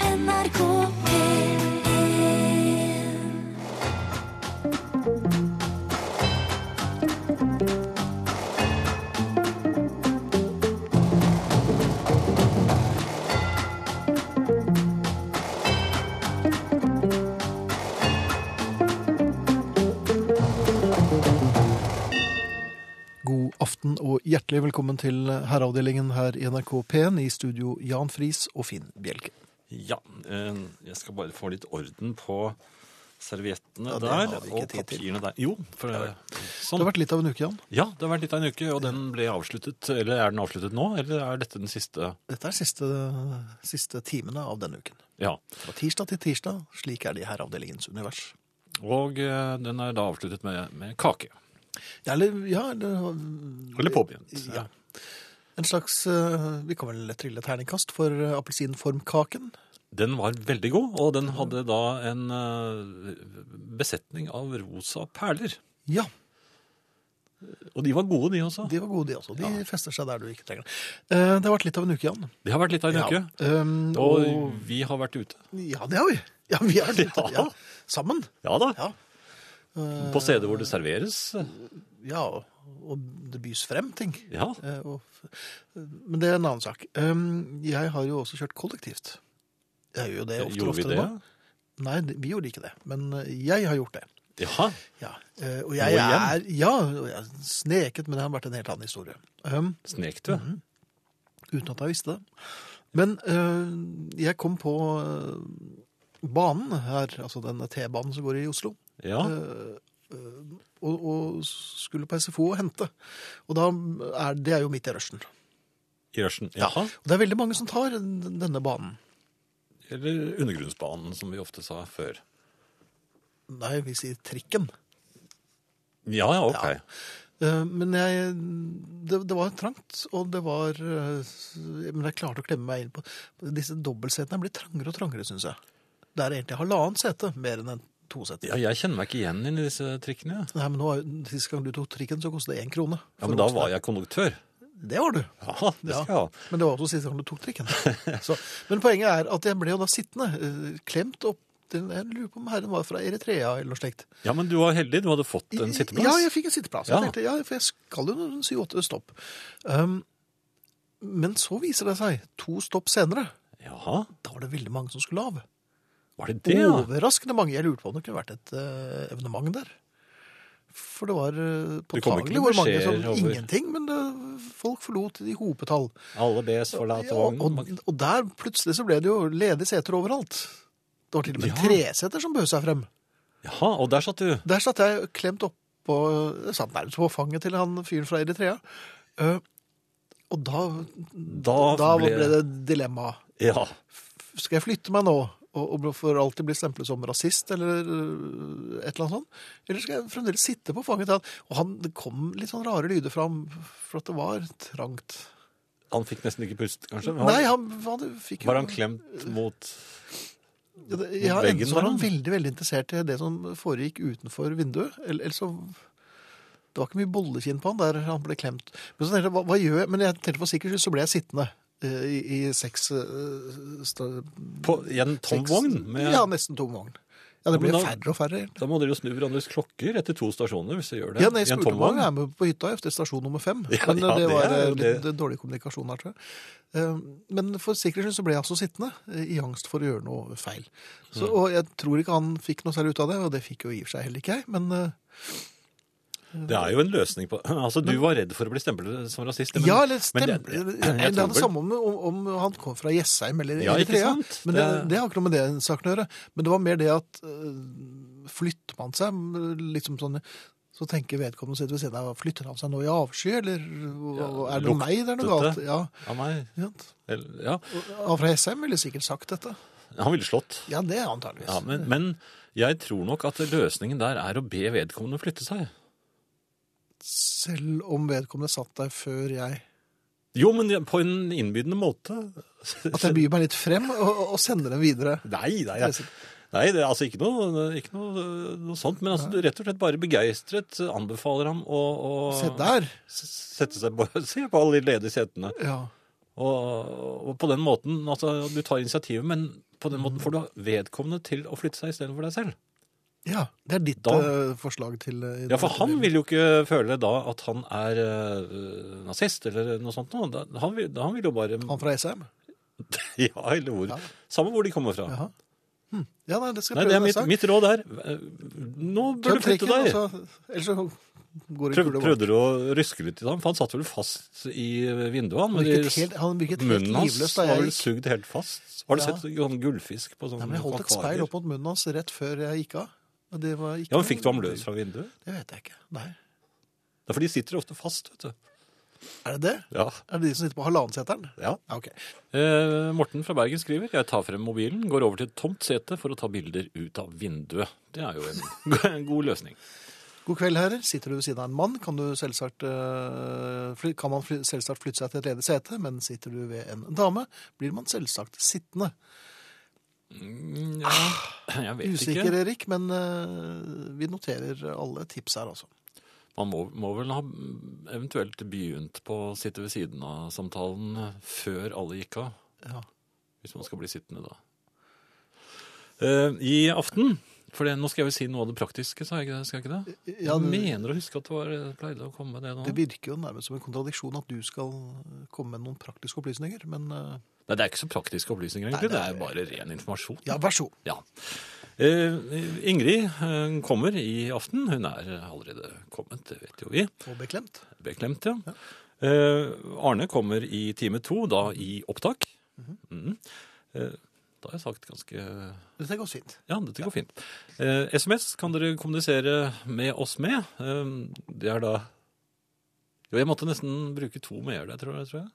NRK P1 God aften og hjertelig velkommen til herreavdelingen her i NRK P1 i studio Jan Friis og Finn Bjelke. Ja, eh, jeg skal bare få litt orden på serviettene Ja, det der har vi ikke og tid til. papirene der. Jo, for det, Det sånn. har vært litt av en uke, Jan. Ja, det har vært litt av en uke, og den ble avsluttet. Eller er den avsluttet nå, eller er dette den siste? Dette er siste, siste timene av denne uken. Ja, Fra tirsdag til tirsdag, slik er det i herreavdelingens univers. og eh, den er da avsluttet med, med kake. Ja, eller, ja, eller, Eller påbegynt. ja. En slags, eh, vi kan vel trille terningkast for eh, appelsinformkaken. Den var veldig god, og den hadde da en eh, besetning av rosa perler. Ja, Og de var gode, de også. de var gode de også. De fester seg der du ikke trenger. Eh, Det har vært litt av en uke, Jan. Det har vært litt av en uke, ehm, og og, vi har vært ute. ja, det har vi. Ja, vi har vært ute. Ja. Ja. Sammen. Ja da, Ja. på steder hvor det serveres. Ja, og- og det bys frem ting. Ja, Eh, Og, men det er en annen sak. Um, Jeg har jo også kjørt kollektivt. Jeg gjør jo Eh, det oftere og Eh, gjorde vi oftere det? nå. Nei, det- vi gjorde ikke det, men eh, jeg har gjort det. Ja, Ja. eh, Og jeg igjen? er ja, og jeg er sneket, men det har vært en helt annen historie. Um, snek du. uten at jeg visste det. Men eh, jeg kom på eh, banen her, altså denne T-banen som går i Oslo. Ja, og, og skulle på SFO og hente. Og da er det er jo midt i rushen. i rushen. Jaha. Og det er veldig mange som tar den- denne banen. Eller undergrunnsbanen, som vi ofte sa før. Nei, vi sier trikken. Ja, ja, ok. Eh, Men jeg, det, det var trangt, og det var eh, s- Men jeg klarte å klemme meg inn på Disse dobbeltsetene blir trangere og trangere, syns jeg. Det er egentlig halvannet sete mer enn en to sete. Ja, jeg kjenner meg ikke igjen inn i disse trikkene. jeg. Nei, men nå, er jo- Sist gang du tok trikken, så kostet det én krone. Ja, men da var jeg konduktør. Det var du. Ja, det skal jeg ha. Men det var også siste gang du tok trikken. Så, men poenget er at jeg ble jo da sittende, eh, klemt opp. til- Jeg lurer på om herren var fra Eritrea eller noe slikt. Ja, men du var heldig. Du hadde fått en sitteplass. Ja, jeg fikk en sitteplass. Ja. Jeg tenkte, ja, for jeg skal jo noen syv-åtte stopp. Um, men så viser det seg, to stopp senere, Jaha, da var det veldig mange som skulle av. var det det, ja? Overraskende mange. Jeg lurte på om det kunne vært et eh, evenement der. For det var uh, Det kom ikke påtagelig noen hvor mange som beskjeder over- Ingenting, men eh, folk forlot i hopetall. Alle bes forlate vognen. og, og der plutselig så ble det jo ledige seter overalt. Det var til og med Ja. treseter som bød seg frem. Jaha, og der satt du. Der satt jeg klemt opp på, jeg satt nærmest på fanget til han fyren fra Eritrea. Eh, og da, Da, da ble... det dilemma. Ja, Skal jeg flytte meg nå og, og for alltid bli stemplet som rasist eller eh, et eller annet sånt? Eller skal jeg fremdeles sitte på fanget til han? Og han, det kom litt sånn rare lyder fra ham, for at det var trangt. han fikk nesten ikke pust, kanskje. Men Nei, han, han fikk jo Var han klemt mot... Ja, det- Ja, veggen enten så var der, han da? veldig, veldig interessert i det som foregikk utenfor vinduet, eller, eller så Det var ikke mye bollekinn på han der han ble klemt. Men så tenkte jeg, hva, hva gjør jeg? Men jeg tenkte for sikker skyld, så ble jeg sittende eh, i, i seks eh, sta- På, I en tom seks- vogn? Med, Ja, nesten tom vogn. Ja, det Ja, men ble da- færre og færre. egentlig. Da må dere jo snu hverandres klokker etter to stasjoner, hvis dere gjør det. Ja, nei, jeg I en spurte tom om han vogn. var med på hytta efter stasjon nummer fem. Ja, men eh, ja, det det var er eh, jo litt det. dårlig kommunikasjon her, tror jeg. Eh, Men for sikkerhets skyld så ble jeg altså sittende eh, i angst for å gjøre noe feil. Så, Mm. og jeg tror ikke han fikk noe særlig ut av det, og det fikk jo i og for seg heller ikke jeg. Men eh, Det er jo en løsning på Altså, du var redd for å bli stemplet som rasist. men- ja, eller men stemmer. det- Det, jeg det er tror det vel- samme om, om, om han kom fra Jessheim eller Ja, ikke Eritrea. sant? Men det, Det- det har ikke noe med det saken å gjøre. Men det var mer det at øh, flytter man seg liksom sånn så tenker vedkommende sitt ved siden av, flytter han seg nå i avsky, eller og- er det noe luktet meg det er noe det? galt? Ja, Ja, nei. ikke sant? Eller- Ja, Og Han fra Jessheim ville sikkert sagt dette. han ville slått. Ja, det antageligvis. Ja, men, men jeg tror nok at løsningen der er å be vedkommende flytte seg. Selv om vedkommende satt der før jeg. Jo, men på en innbydende måte. At jeg byr meg litt frem og, og sender dem videre. Nei, nei, jeg- nei det er altså ikke noe, ikke noe, noe sånt. Men altså, du rett og slett bare begeistret anbefaler ham å, å Se der! s- sette seg på, se på alle de ledige setene. Ja. Og, og på den måten, altså, du tar initiativet, men På den måten får du vedkommende til å flytte seg istedenfor deg selv. Ja, det er ditt Da- eh, forslag til eh, Ja, for han vil jo ikke føle da at han er eh, nazist eller noe sånt. nå. Da- Han vil, han vil jo bare Han fra SM? Ja, eller hvor. Ja. Samme hvor de kommer fra. Jaha. Hm. Ja, nei, det skal Nei, jeg det er prøve mitt, neste gang. mitt råd er eh, Nå bør Tøm du flytte trekken, deg. altså, ellers så går det Prøv, kule bak. prøvde du å ryske litt i ham? For han satt vel fast i vinduet, Han han. Men virket de- helt, han virket helt munnen hans livløs da var jeg vel gikk. sugd helt fast. Har du Ja. sett sånn gullfisk på sånn Nei, men jeg holdt et speil opp mot munnen hans rett før jeg gikk av. Og det var ikke Ja, men fikk du ham løs fra vinduet? Det vet jeg ikke. Nei. Det er fordi de sitter ofte fast, vet du. Er det det? Ja. Er det de som sitter på halvannenseteren? ja. Ja, ok. Eh, Morten fra Bergen skriver Jeg tar frem mobilen, går over til et tomt sete for å ta bilder ut av vinduet. Det er jo en, en god løsning. God kveld, herrer. Sitter du ved siden av en mann, kan, du selvsagt, eh, fly- kan man fly- selvsagt flytte seg til et ledig sete, men sitter du ved en dame, blir man selvsagt sittende. Mm, Ja, jeg vet Ah, Usikker, ikke. Erik, men eh, vi noterer alle tips her, altså. Man må, må vel ha eventuelt begynt på å sitte ved siden av samtalen før alle gikk av. Ja. Hvis man skal bli sittende, da. Eh, I aften For det, nå skal jeg jo si noe av det praktiske, sa jeg ikke det? Skal jeg ikke det? Ja, jeg det, mener å huske at det var, eh, pleide å komme det nå. det virker jo nærmest som en kontradiksjon at du skal komme med noen praktiske opplysninger, men eh, Nei, det er ikke så praktiske opplysninger, egentlig. Nei, det, er bare ren informasjon. ja, vær så god. Ja. Eh, Ingrid eh, kommer i aften. Hun er allerede kommet, det vet jo vi. Og beklemt. Beklemt, ja. Eh, Arne kommer i time to, da i opptak. Mhm. eh, da har jeg sagt ganske Dette går fint. Ja, dette går fint. Eh, SMS kan dere kommunisere med oss med. Eh, det er da Jo, jeg måtte nesten bruke to med-er der, tror jeg. Tror jeg.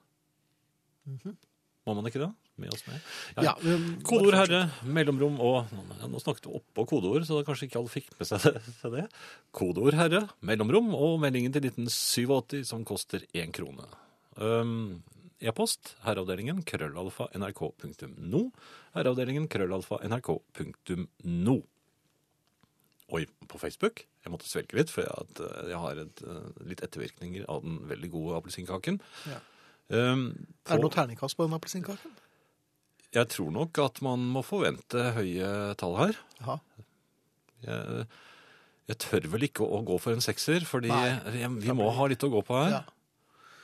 Mhm. Må man ikke det? Med oss med? Ja. Ja, um, Kodeord herre, mellomrom og ja, Nå snakket du oppå kodeord, så kanskje ikke alle fikk med seg det. seg det. Kodeord herre, mellomrom og meldingen til 1987 som koster én krone. Um, E-post herreavdelingen krøllalfa nrk.no. Herreavdelingen krøllalfa nrk.no. Oi, på Facebook. Jeg måtte svelge litt, for jeg, at eh, jeg har et, eh, litt ettervirkninger av den veldig gode appelsinkaken. Ja. Um, Er det på- noe terningkast på den appelsinkaken? jeg tror nok at man må forvente høye tall her. Jaha. Jeg, jeg tør vel ikke å gå for en sekser, fordi Nei. jeg, vi må ha litt å gå på her. Ja.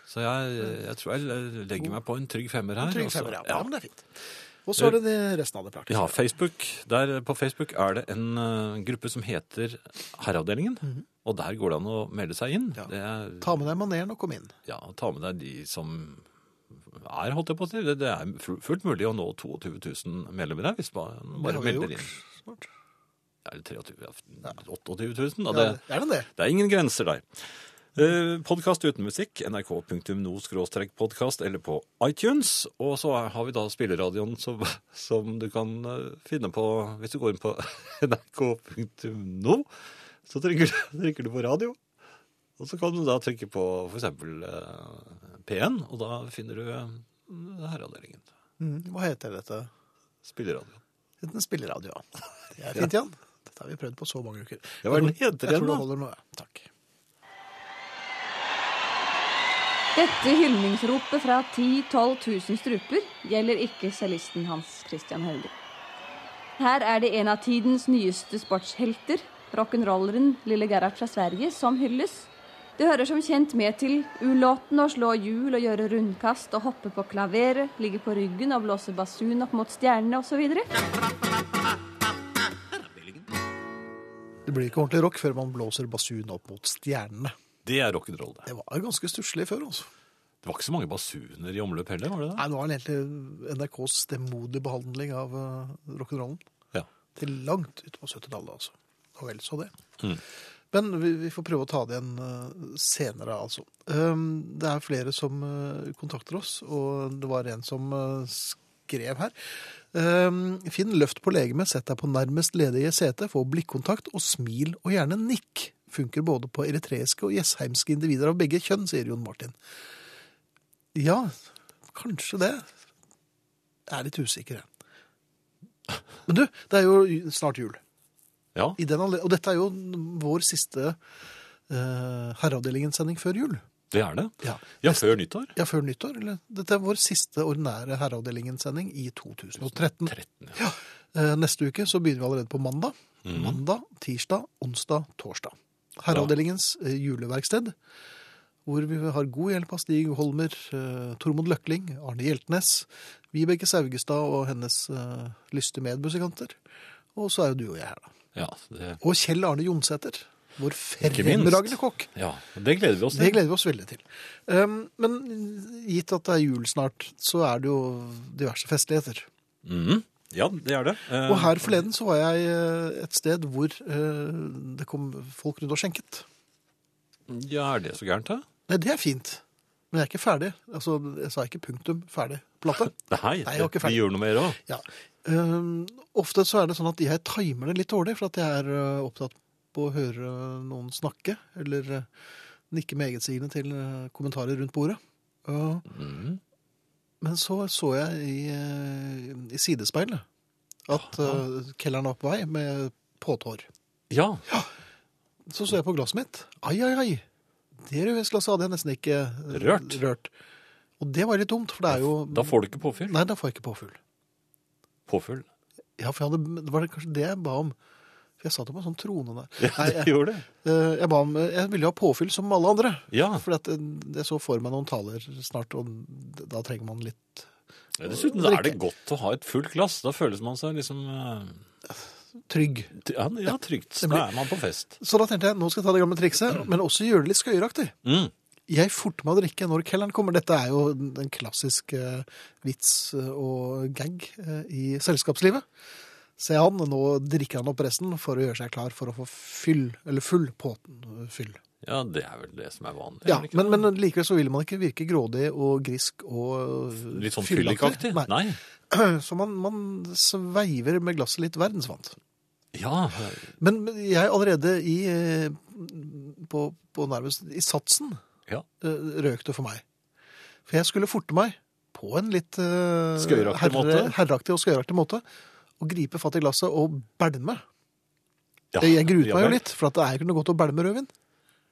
Så jeg, jeg tror jeg legger meg på en trygg femmer her. Trygg og så- femmer, ja. altså. ja. ja. Men det er fint. Og så er det det resten av det praktiske. Ja, Facebook. Der, på Facebook er det en eh, gruppe som heter Herreavdelingen. Og der går det an å melde seg inn. Mhm. Ja. Det er, Ta med deg maneren og kom inn. ja, ta med deg de som er, holdt jeg på å si. Det, det er fu- fullt mulig å nå 22 000 medlemmer her, hvis man bare har vi melder gjort inn. snart. Er det 23 ja, 28 000? Da, Ja, det, er det det? det er ingen grenser der. Eh, Podkast uten musikk, nrk.no-podkast eller på iTunes. Og så er- har vi da spilleradioen som, som du kan eh, finne på hvis du går inn på nrk.no. Så trykker, du- trykker du på radio, og så kan du da trykke på f.eks. Eh, P1, og da finner du eh, herreavdelingen. Mm. Hva heter dette? Spilleradioen. Det heter en spilleradio. ja. Det er fint, Jan. Dette har vi prøvd på så mange uker. Ja, hva er den Jeg tror- heter Jeg igjen, tror da? det holder nå. ja. Takk. Dette hyldningsropet fra 10 12 000 struper gjelder ikke cellisten Hans Christian Hauge. Her er det en av tidens nyeste sportshelter, rock'n'rolleren Lille Gerhard fra Sverige, som hylles. Det hører som kjent med til ulotten å slå hjul og gjøre rundkast og hoppe på klaveret, ligge på ryggen og blåse basun opp mot stjernene osv. Det blir ikke ordentlig rock før man blåser basun opp mot stjernene. Det er rock'n'roll, det. Det var ganske stusslig før, altså. Det var ikke så mange basuner i omløp heller, var det det? Nei, nå er det egentlig NRKs stemoderlige behandling av uh, rock'n'rollen. Ja. Til langt ut på 70-tallet, altså. Og vel så det. Mm. Men vi, vi får prøve å ta det igjen eh, senere, altså. Um, det er flere som eh, kontakter oss, og det var en som eh, skrev her. Um, Finn løft på legemet, sett deg på nærmest ledige sete, få blikkontakt og smil og gjerne nikk. Funker både på eritreiske og jessheimske individer av begge kjønn, sier Jon Martin. Ja, kanskje det. Jeg er litt usikker, jeg. Men du, det er jo snart jul. Ja. I den anled- og dette er jo vår siste eh, herreavdelingens sending før jul. Det er det. Ja. Ja, før nyttår. ja, før nyttår. Eller? Dette er vår siste ordinære Herreavdelingen-sending i 2013. 13. ja. Eh, Neste uke så begynner vi allerede på mandag. Mandag, tirsdag, onsdag, torsdag. Herreavdelingens eh, juleverksted, hvor vi har god hjelp av Stig Holmer, eh, Tormod Løkling, Arne Hjeltnes, Vibeke Saugestad og hennes eh, lyste medmusikanter. Og så er jo du og jeg her, da. Ja, det, Og Kjell Arne Jonsæter, vår Ikke minst. fremragende kokk. ja, det gleder vi oss Det til. gleder vi oss veldig til. Um, men gitt at det er jul snart, så er det jo diverse festligheter. Mhm. Ja, det er det. Eh, Og her forleden så var jeg eh, et sted hvor eh, det kom folk rundt og skjenket. Eh, Ja, er det så gærent, da? Nei, det er fint. Men jeg er ikke ferdig. Altså, jeg sa ikke punktum, ferdig, plate. Nei, Nei, jeg var ikke vi ferdig. gjør noe mer òg. Ja. Um, ofte så er det sånn at jeg timer det litt dårlig, for at jeg er eh, opptatt på å høre noen snakke, eller eh, nikke med egetsigende til eh, kommentarer rundt bordet. Uh, Mm. Men så så jeg i, eh, i sidespeilet at uh, kelleren var på vei med påtår. Ja. Så så jeg på glasset mitt. Ai, ai, ai. Det rødvinsglasset hadde jeg nesten ikke eh, Rørt. rørt. Og det var litt dumt, for det er jo Da får du ikke påfyll. Nei, da får jeg ikke påfugl. Påfyll. Ja, for jeg hadde, det var kanskje det jeg ba om. For jeg satt jo på en sånn trone der. Ja, Nei, det jeg, gjør det. eh, jeg, ba om, jeg ville jo ha påfyll som alle andre. Ja. For at eh, jeg så for meg noen taler snart, og da trenger man litt Dessuten så er det godt å ha et fullt glass. Da føles man seg liksom eh, trygg. t- Ja, ja trygt. blir- Da er man på fest. Så da tenkte jeg, nå skal jeg ta det gamle trikset, men også gjøre det litt skøyeraktig. Mm. Jeg forter meg å drikke når kelleren kommer. Dette er jo en klassisk eh, vits og gag eh, i selskapslivet. Se han, nå drikker han opp resten for å gjøre seg klar for å få fyll, eller full påten fyll. Ja, det er vel det som er vanlig. Ja, er det ikke men, det? men likevel så vil man ikke virke grådig og grisk og eh, Litt sånn fyllaktig. fyllikaktig? Nei. Nei. Så man, man sveiver med glasset litt verdensvant. Ja. Men men jeg allerede i, eh, på, på nærmest i satsen ja. eh, røk det for meg. For jeg skulle forte meg på en litt eh, Skøyeraktig måte. herreaktig og skøyeraktig måte og gripe fatt i glasset og belme. ja. jeg gruet ja, meg jo vel. litt, for at det er jo ikke noe godt å belme rødvin.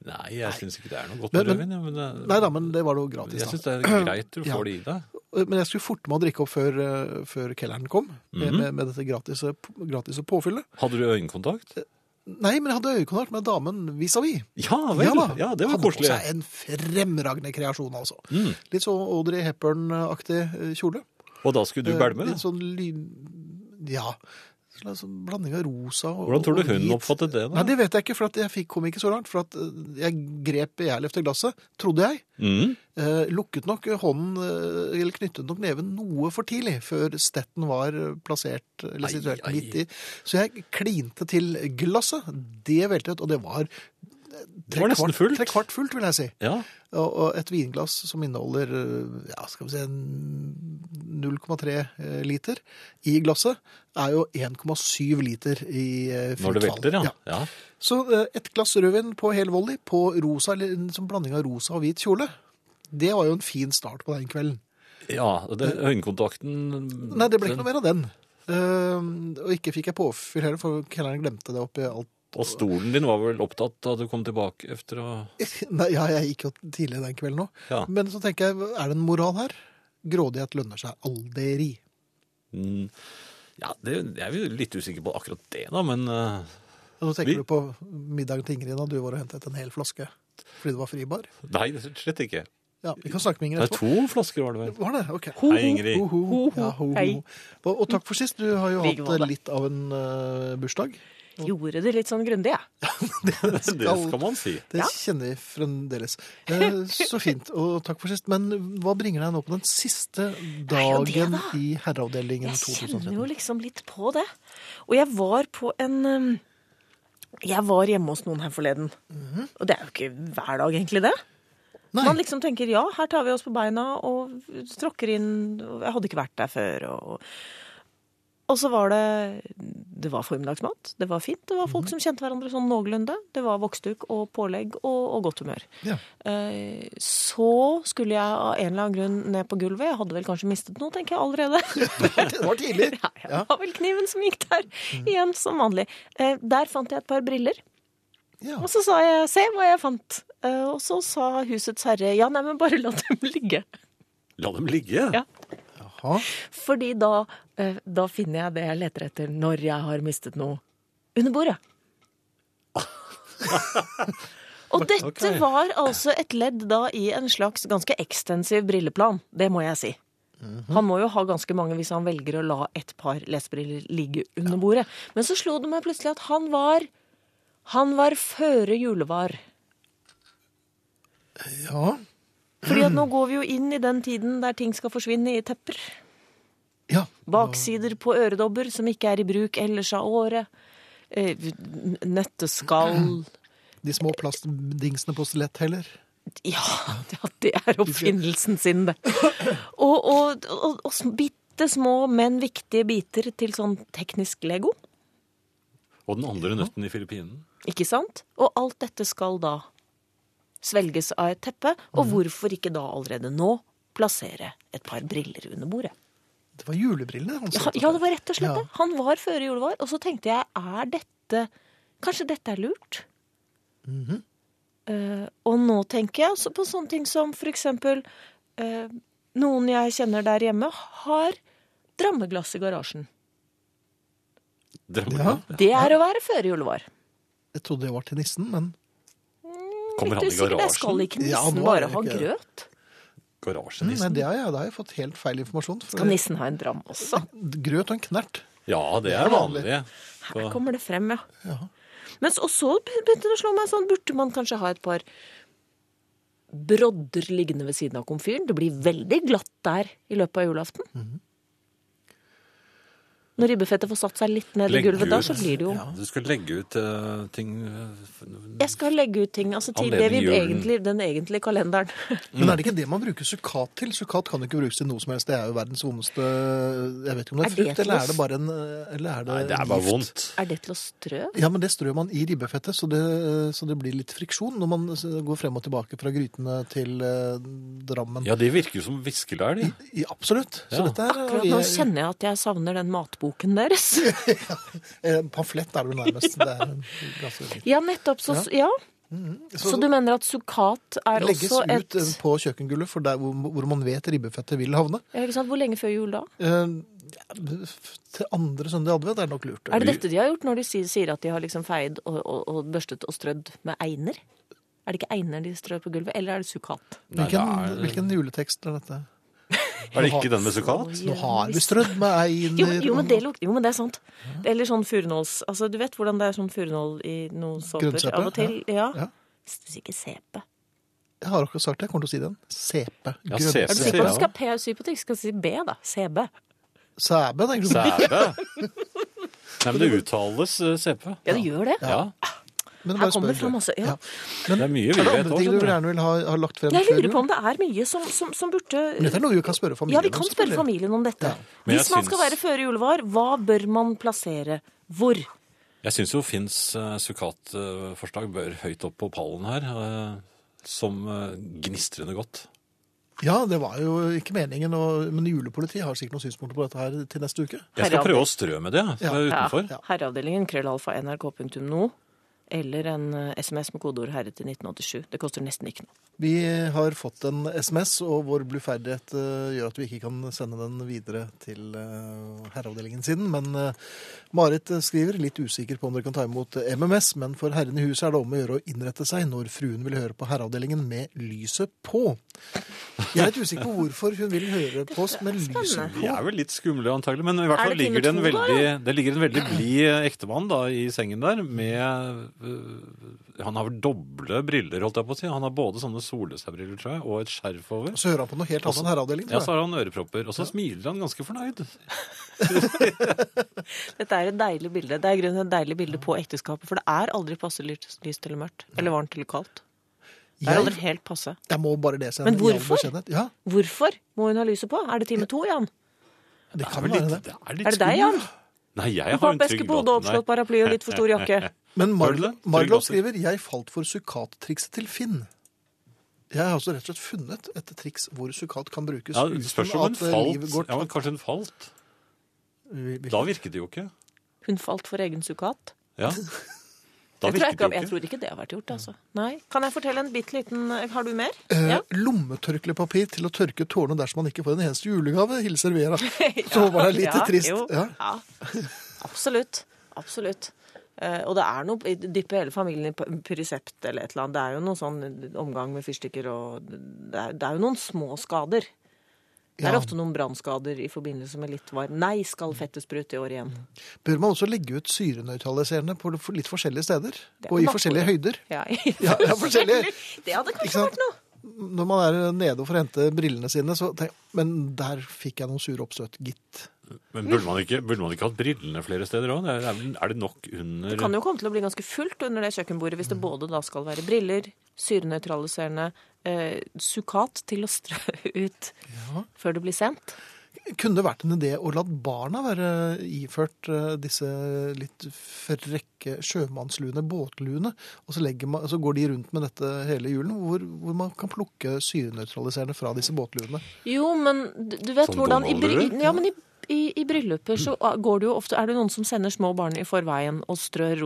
Nei, jeg syns ikke det er noe godt Men- men- med rødvin. ja, Men, det- Nei da, men det var det jo gratis. jeg syns da. det er greit du Ja. får det i deg. Men jeg skulle forte meg å drikke opp før, eh, før kelleren kom, med, Mhm. med, med dette gratis, eh, gratis påfyllet. Hadde du øyekontakt? Eh, Nei, men jeg hadde øyekontakt med damen vis-à-vis. Ja vel! Ja, det var hadde koselig. på seg en fremragende kreasjon, altså. Mm. Litt sånn Audrey Hepburn-aktig eh, kjole. Og da skulle du Eh, bælme? Litt sånn lyn... Ja. En slags sånn blanding av rosa og Hvordan tror du og hun hvit. oppfattet det? da? Nei, det vet jeg ikke, for at jeg fikk, kom ikke så langt. For at eh, jeg grep begjærlig efter glasset, trodde jeg. Mm. Eh, lukket nok hånden, eh, eller knyttet nok neven noe for tidlig, før stetten var eh, plassert eller Ai, situert ai. midt i. Så jeg klinte til glasset. Det veltet, og det var eh, Det var nesten fullt. tre kvart fullt, vil jeg si. Ja. Og, og et vinglass som inneholder eh, ja, skal vi si, en 0,3 eh, liter i glasset, er jo 1,7 liter i eh, fullt Når det fall. velter, ja. ja. Så eh, et glass rødvin på hel volley på rosa, eller en sånn blanding av rosa og hvit kjole, det var jo en fin start på den kvelden. Ja, og det, øyekontakten Eh, Nei, det ble ikke noe mer av den. Eh, og ikke fikk jeg påfyll heller, for kelleren glemte det oppi alt. Og stolen din var vel opptatt da du kom tilbake efter å Nei, ja, jeg gikk jo tidlig den kvelden òg. Ja. Men så tenker jeg, er det en moral her? Grådighet lønner seg aldri. Mm. Ja, det, jeg er jo litt usikker på akkurat det, da, men eh, Og så tenker Vi- du på middagen til Ingrid da du var og hentet en hel flaske fordi det var fribar. Nei, slett ikke. Ja, Vi kan snakke med Ingrid Det er etterpå. to flasker, var det vel. Var det? Ok. Hei, Ingrid. Ho, ho, ho, Ho, ho. Ja, ho, ho. Hei. Og, og takk for sist. Du har jo hatt Like måte. eh, litt av en eh, bursdag. Gjorde det litt sånn grundig, jeg. Ja. Det skal man si. Det Ja. kjenner vi fremdeles. Eh, så fint. Og takk for sist. Men hva bringer deg nå på den siste jo det, dagen da. i Herreavdelingen Jeg kjenner 2013? jo liksom litt på det. Og jeg var på en um, Jeg var hjemme hos noen her forleden. Og det er jo ikke hver dag, egentlig, det. Nei. Man liksom tenker ja, her tar vi oss på beina og tråkker inn og Jeg hadde ikke vært der før. og... Og så var det Det var formiddagsmat. Det var fint. Det var folk som kjente hverandre sånn noenlunde. Det var voksduk og pålegg og, og godt humør. Ja. Eh, Så skulle jeg av en eller annen grunn ned på gulvet. Jeg hadde vel kanskje mistet noe, tenker jeg allerede. Det var tidlig. Ja, jeg var vel kniven som gikk der. Igjen, som vanlig. Eh, Der fant jeg et par briller. Ja. Og så sa jeg 'se hva jeg fant'. Eh, Og så sa husets herre 'ja, nei, men bare la dem ligge'. La dem ligge. Ja. Jaha. Fordi da, eh, da finner jeg det jeg leter etter når jeg har mistet noe under bordet. Og dette Ok. var altså et ledd da i en slags ganske ekstensiv brilleplan, det må jeg si. Han må jo ha ganske mange hvis han velger å la et par lesebriller ligge under bordet. Men så slo det meg plutselig at han var Han var føre julevar. Ja. Fordi at nå går vi jo inn i den tiden der ting skal forsvinne i tepper. ja. Baksider på øredobber som ikke er i bruk ellers av året. Eh, n- Nøtteskall De små plastdingsene på stilettheller. Ja, ja, det er oppfinnelsen sin, det. Og, og, og, og bitte små, men viktige biter til sånn teknisk Lego. Og den andre nøtten i Filippinen. Ikke sant? Og alt dette skal da svelges av et teppe. Og hvorfor ikke da allerede nå plassere et par briller under bordet? Det var julebrillene hans. Ja, ja, det var rett og slett Ja. det. Han var føre julevar, og så tenkte jeg, er dette Kanskje dette er lurt? Eh, og nå tenker jeg også på sånne ting som for eksempel eh, Noen jeg kjenner der hjemme, har drammeglass i garasjen. Drømmer. Ja. Det er å være føre julevar. Jeg trodde det var til nissen, men Kommer han i Helt usikker, jeg skal garasjen? ikke Ja, nissen nå er bare det ha ikke- grøt? mm, nei, Garasjenissen? det har jeg, da har jeg fått helt feil informasjon. for- Skal nissen ha en dram også? Grøt og en knert. Ja, det er vanlig. Her kommer det frem, ja. Ja. Mens, og så begynte det å slå meg sånn, burde man kanskje ha et par brodder liggende ved siden av komfyren? Det blir veldig glatt der i løpet av julaften. Når ribbefettet får satt seg litt ned i Legg gulvet da, ut. så blir det jo Du skal legge ut eh, ting eh, Jeg skal legge ut ting altså, til det Anledning vi julen. egentlig, den egentlige kalenderen. Men er Mm. det ikke det man bruker sukkat til? Sukkat kan jo ikke brukes til noe som helst. Det er jo verdens vondeste Jeg vet ikke om det Er er det frukt, til eller oss? er det bare en Eller er det, Nei, det er bare gift? vondt. er det til å strø? Ja, men det strør man i ribbefettet, så det, så det blir litt friksjon når man går frem og tilbake fra grytene til eh, Drammen. Ja, de virker jo som viskelær, de. I, absolutt. Så Ja. dette er Akkurat nå kjenner jeg at jeg savner den matboken deres. eh, Pamflett er det vel nærmest. Det er en ganske- Ja, nettopp. Så, ja. så du mener at sukkat er legges også et ut eh, på kjøkkengulvet, for der hvor, hvor man vet ribbefettet vil havne. Ja, ikke sant? Hvor lenge før jul da? Eh, til andre søndag i advent er det nok lurt. Er det dette de har gjort når de sier, sier at de har liksom feid og, og, og børstet og strødd med einer? Er det ikke einer de strør på gulvet, eller er det sukkat? Nei, det Hvilken, er, hvilken juletekst er dette? er det ikke den med sukkat? Nå har vi strødd med einer Jo, jo, men og- det lukter, jo, men det er sant. Eller sånn furunåls Altså, du vet hvordan det er sånn furunål i noen såper Grønnsåpe, av og til? Ja. Ja. Hvis du sier ikke sepe. Jeg har akkurat sagt det, jeg kommer til å si den. Sepe. Ja, Grønn- sepe. Er du Sepe, sikker på ja. at du skal PSY på ting? Skal du si B, da? CB. Sæbe, tenker du. Sæbe? Nei, men det uttales eh, CP. Ja, du gjør det. Ja. Men Her bare kommer det spør du. fram også. Ja. Det er mye Er vi det vet andre ting du òg. gjerne vil ha, ha lagt frem? Jeg før lurer jul? på om det er mye som, som, som burde Men Dette er noe vi kan spørre familien Ja, vi kan om, spørre selvfølgelig. familien om dette. Men jeg Hvis man skal syns- være føre julevar, hva bør man plassere hvor? Jeg syns jo Finns uh, sukkatforslag bør høyt opp på pallen her, eh, som eh, gnistrende godt. Ja, det var jo ikke meningen, og, men julepolitiet har sikkert noen synspunkter på dette her til neste uke. Jeg skal Herreavdeling. prøve å strø med det fra utenfor. Ja. Herreavdelingen, krøllalfa, nrk.no. Eller en eh, SMS med kodeord 'herre' til 1987. Det koster nesten ikke noe. Vi har fått en SMS, og vår bluferdighet eh, gjør at vi ikke kan sende den videre til eh, herreavdelingen sin. Men eh, Marit eh, skriver litt usikker på om dere kan ta imot MMS, men for herren i huset er det om å gjøre å innrette seg når fruen vil høre på herreavdelingen med lyset på. Jeg er litt usikker på hvorfor hun vil høre på oss med lyset De på. er vel litt skumle antagelig, men i hvert Er fall det ligger det en Tinder to, da, veldig, det ligger en veldig blid eh, ektemann da i sengen der med øh, Han har vel doble briller, holdt jeg på å si. Han har både sånne solestadbriller, tror jeg, og et skjerf over. Så hører han på noe helt annet enn herreavdelingen, Ja, så Altså, tror jeg. har han ørepropper, og så smiler han ganske fornøyd. Dette er et deilig bilde. Det er i grunnen et deilig bilde på ekteskapet, for det er aldri passe lyst, lyst eller mørkt. Eller varmt eller kaldt. Det er aldri Jeg, helt passe. jeg må bare lese en Men jævla hvorfor? beskjedenhet. Ja, Hvorfor må hun ha lyset på? Er det time to, Jan? det kan vel være litt- det. er litt Er det deg, skummelt. Jan? Nei, jeg har en Pappeske trygg på låt. hodet, Nei. oppslått paraply og litt for stor jakke. Men Var det Marlo- det? Trygg Marlow Lasse. skriver «Jeg falt for sukattrikset til Finn». Jeg har altså rett og slett funnet et triks hvor sukat kan brukes Ja, uten det spørs om hun at eh, livet falt. går Ja, men kanskje hun falt. Vi- vi- Da virket det jo ikke. Hun falt for egen sukkat. Ja. Da virket jeg, tror ikke, det jeg jo ikke. tror ikke det har vært gjort, altså. Nei. Kan jeg fortelle en bitte liten Har du mer? Eh, Ja. Lommetørklepapir til å tørke tårene dersom man ikke får en eneste julegave, hilser Vera. Så var det litt Ja, trist. jo. Ja. Ja. Absolutt. Absolutt. Eh, og det er noe Dyppe hele familien i p- pyresept eller et eller annet. Det er jo noe sånn omgang med fyrstikker og Det er, det er jo noen små skader. Det er Ja. ofte noen brannskader i forbindelse med litt varm Nei, skal fettet sprute i år igjen? Bør man også legge ut syrenøytraliserende på litt forskjellige steder? Det er Og i nattbordet. forskjellige høyder? Ja, Ja, ja, forskjellige. Det hadde Ikke kanskje sant? vært noe. Når man er nede og får hente brillene sine, så tenker jeg Men der fikk jeg noen sure oppstøt, gitt. Men burde man ikke, burde man ikke hatt brillene flere steder òg? Er, vel- er det nok under Det kan jo komme til å bli ganske fullt under det kjøkkenbordet hvis det både da skal være briller, syrenøytraliserende, eh, sukkat til å strø ut før det blir sendt. Kunne det vært en idé å la barna være iført eh, disse litt frekke sjømannsluene, båtluene, og så, legger man, så går de rundt med dette hele julen, hvor, hvor man kan plukke syrenøytraliserende fra disse båtluene. Jo, men du du vet Som hvordan i, bry- Donald-lue? ja, men i, i, i brylluper så går det jo ofte Er det noen som sender små barn i forveien og For strør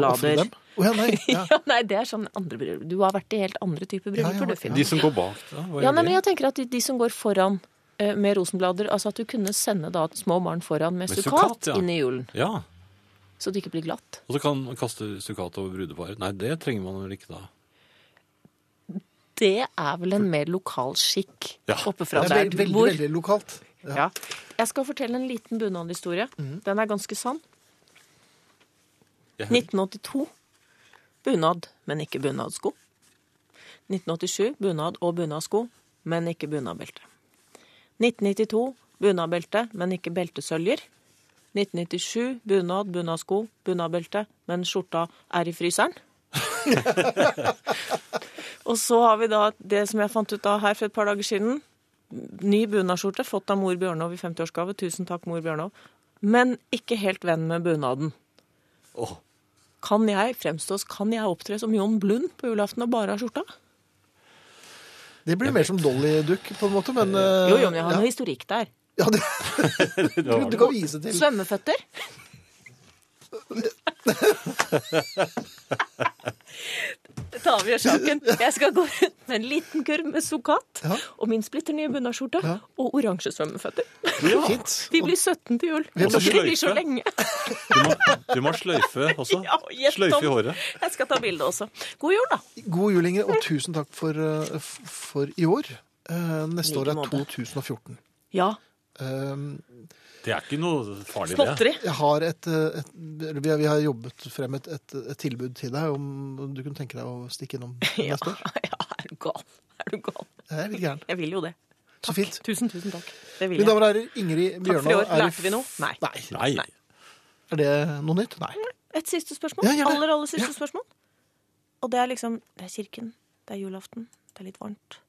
å ofre rosenblader? dem. Å ja, nei. Ja. Ja, nei, det er sånn andre bryllup. Du har vært i helt andre typer Ja, brylluper, ja, du, Finn. De som går bak, da? Hva Ja, gjør nei, de? men jeg tenker at de, de som går foran eh, med rosenblader Altså at du kunne sende da små barn foran med, Med sukkat, sukkat, ja. inn i julen. ja. Så det ikke blir glatt. Og så kan man kaste sukkat over brudeparet. Nei, det trenger man vel ikke da. Det er vel en mer lokal skikk Ja. oppe Det fra er der veldig, du veldig, bor. veldig lokalt. Ja. Ja. Jeg skal fortelle en liten bunadhistorie. Den er ganske sann. Jeg hører. 1982 bunad, men ikke bunadsko. 1987 bunad og bunadsko, men ikke bunadbelte. 1992 bunadbelte, men ikke beltesøljer. 1997 bunad, bunadsko, bunadbelte, men skjorta er i fryseren. og så har vi da det som jeg fant ut av her for et par dager siden. Ny bunadsskjorte fått av mor Bjørnov i 50-årsgave. Tusen takk, mor Bjørnov. Men ikke helt venn med bunaden. Åh, Kan jeg fremstås, kan jeg opptre som Jon Blund på julaften og bare ha skjorta? Det blir mer som Dolly-dukk, på en måte, men eh, Jo, jo, men jeg har ja. noe historikk der. Ja, det, det var du det. kan vise til Svømmeføtter. Det tar vi av saken. Jeg skal gå rundt med en liten kurv med sukkat Ja. og min splitter nye bunadsskjorte Ja. og oransje svømmeføtter. Fint. De blir 17 til jul. Vet du Og så hva blir de så sløyfe? lenge. Du må, du må ha sløyfe også. Ja, gjett om. sløyfe i håret. Jeg skal ta bilde også. God jul, da. God jul, Ingrid, og tusen takk for, eh, f- for i år. Eh, Neste Like år er måte. 2014. Ja. Eh, Det er ikke noe farlig, det. Småtteri. Jeg har et, eh, et eller vi, har, vi har jobbet frem et, et, et tilbud til deg om du kunne tenke deg å stikke innom Ja. neste år. ja, er du gal? Er du gal? Jeg er litt gæren. Jeg vil jo det. Så fint. Tusen, tusen takk. Det vil Mine jeg. damer og herrer, Ingrid Takk for i Bjørnov år. er i- Lærte vi noe? Nei. Nei. Nei. Er det noe nytt? Nei. Et siste spørsmål. Ja, gjør det. aller, aller siste spørsmål. Og det er liksom Det er kirken, det er julaften, det er litt varmt,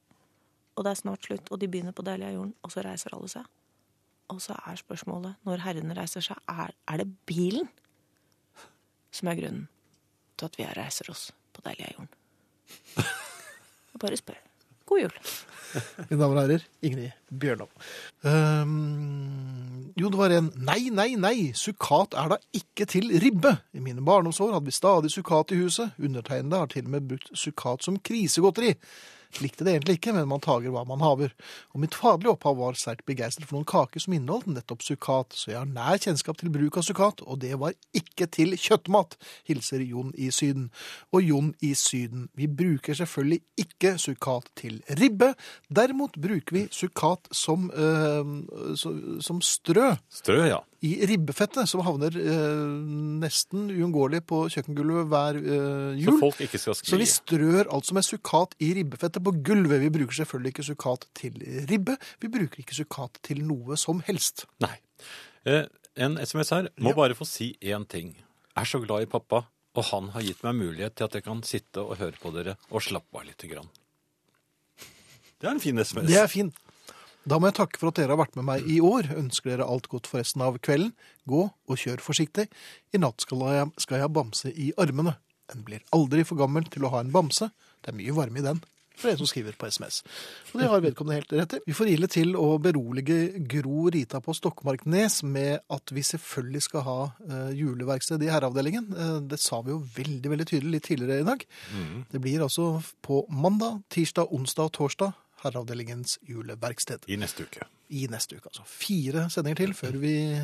og det er snart slutt, og de begynner på Deilig er jorden, og så reiser alle seg. Og så er spørsmålet, når herrene reiser seg, er, er det bilen som er grunnen til at vi reiser oss på Deilig er jorden? Jeg bare spør. God jul. Mine damer og herrer, Ingrid Bjørnov. Ehm, jo, det var en Nei, nei, nei, sukkat er da ikke til ribbe. I mine barndomsår hadde vi stadig sukkat i huset. Undertegnede har til og med brukt sukkat som krisegodteri. Likte det egentlig ikke, men man tager hva man haver. Og mitt faderlige opphav var sterkt begeistret for noen kaker som inneholdt nettopp sukkat, så jeg har nær kjennskap til bruk av sukkat, og det var ikke til kjøttmat, hilser Jon i Syden. Og Jon i Syden, vi bruker selvfølgelig ikke sukkat til ribbe, derimot bruker vi sukkat som, øh, så- som strø Strø, ja. i ribbefettet, som havner øh, nesten uunngåelig på kjøkkengulvet hver øh, Så jul. folk ikke skal Så skli. vi strør altså med sukkat i ribbefettet på gulvet. Vi bruker selvfølgelig ikke sukkat til ribbe. Vi bruker ikke sukkat til noe som helst. Nei. Eh, en SMS her må bare få si én ting. Jeg er så glad i pappa, og han har gitt meg mulighet til at jeg kan sitte og høre på dere og slappe av lite grann. Det er en fin SMS. Det er fint. Da må jeg takke for at dere har vært med meg i år. Ønsker dere alt godt for resten av kvelden. Gå og kjør forsiktig. I natt skal jeg, skal jeg ha bamse i armene. Den blir aldri for gammel til å ha en bamse. Det er mye varme i den. fra en som skriver på SMS. Og det har vedkommende helt rett i. Vi får ile til å berolige Gro Rita på Stokmarknes med at vi selvfølgelig skal ha eh, juleverksted i herreavdelingen. Eh, det sa vi jo veldig veldig tydelig litt tidligere i dag. Det blir altså på mandag, tirsdag, onsdag og torsdag herreavdelingens juleverksted. I neste uke. I neste uke, altså. Fire sendinger til før vi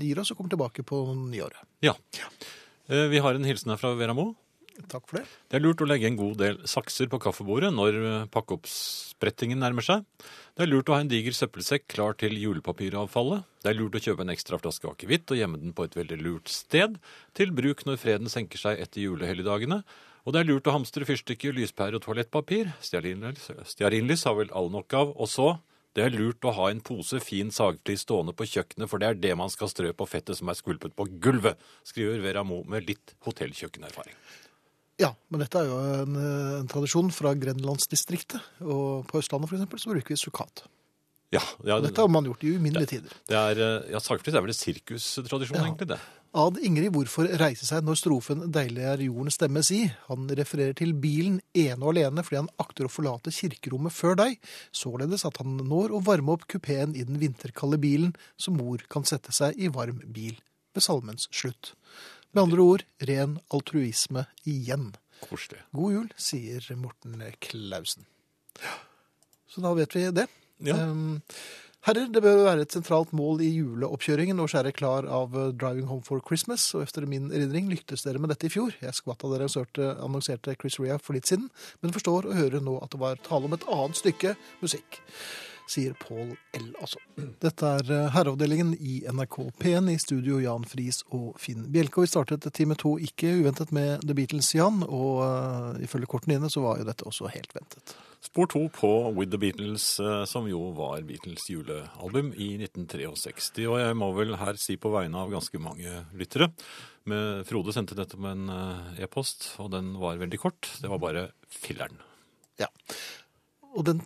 gir oss og kommer tilbake på nyåret. Ja. Eh, Vi har en hilsen her fra Vera Mo. Takk for det. Det er lurt å legge en god del sakser på kaffebordet når eh, pakkeoppsprettingen nærmer seg. Det er lurt å ha en diger søppelsekk klar til julepapiravfallet. Det er lurt å kjøpe en ekstra flaske akevitt og gjemme den på et veldig lurt sted, til bruk når freden senker seg etter julehelligdagene. Og det er lurt å hamstre fyrstikker, lyspærer og toalettpapir. Stearinlys stearinlys har vel all nok av. Og så det er lurt å ha en pose fin sagflis stående på kjøkkenet, for det er det man skal strø på fettet som er skvulpet på gulvet, skriver Vera Mo med litt hotellkjøkkenerfaring. Ja, men dette er jo en, eh, en tradisjon fra Grenlandsdistriktet. Og på Østlandet for eksempel, så bruker vi sukkat. Ja, ja, Og dette har man gjort i uminnelige tider. Det er, eh, ja, Sagflis er vel en sirkustradisjon, egentlig. det. Ad Ingrid hvorfor reise seg når strofen 'Deilig er jorden' stemmes i. Han refererer til bilen ene og alene fordi han akter å forlate kirkerommet før deg, således at han når å varme opp kupeen i den vinterkalde bilen, så mor kan sette seg i varm bil ved salmens slutt. Med andre ord ren altruisme igjen. Koselig. God jul, sier Morten Klausen. Så da vet vi det. Ja. Um, Herrer, det bør være et sentralt mål i juleoppkjøringen å skjære klar av eh, Driving Home for Christmas, og efter min erindring lyktes dere med dette i fjor. Jeg skvatt da dere hørte- annonserte Chris Rea for litt siden, men forstår og hører nå at det var tale om et annet stykke musikk, sier Paul L. altså. Dette er eh, herreavdelingen i NRK P1 i studio Jan Friis og Finn Bjelke. Og vi startet time to ikke uventet med The Beatles, Jan, og eh, ifølge kortene dine så var jo dette også helt ventet. Spor to på With The Beatles, eh, som jo var Beatles julealbum i 1963. Og jeg må vel her si på vegne av ganske mange lyttere men Frode sendte dette med en eh, e-post, og den var veldig kort. Det var bare 'filler'n'. Ja. Og den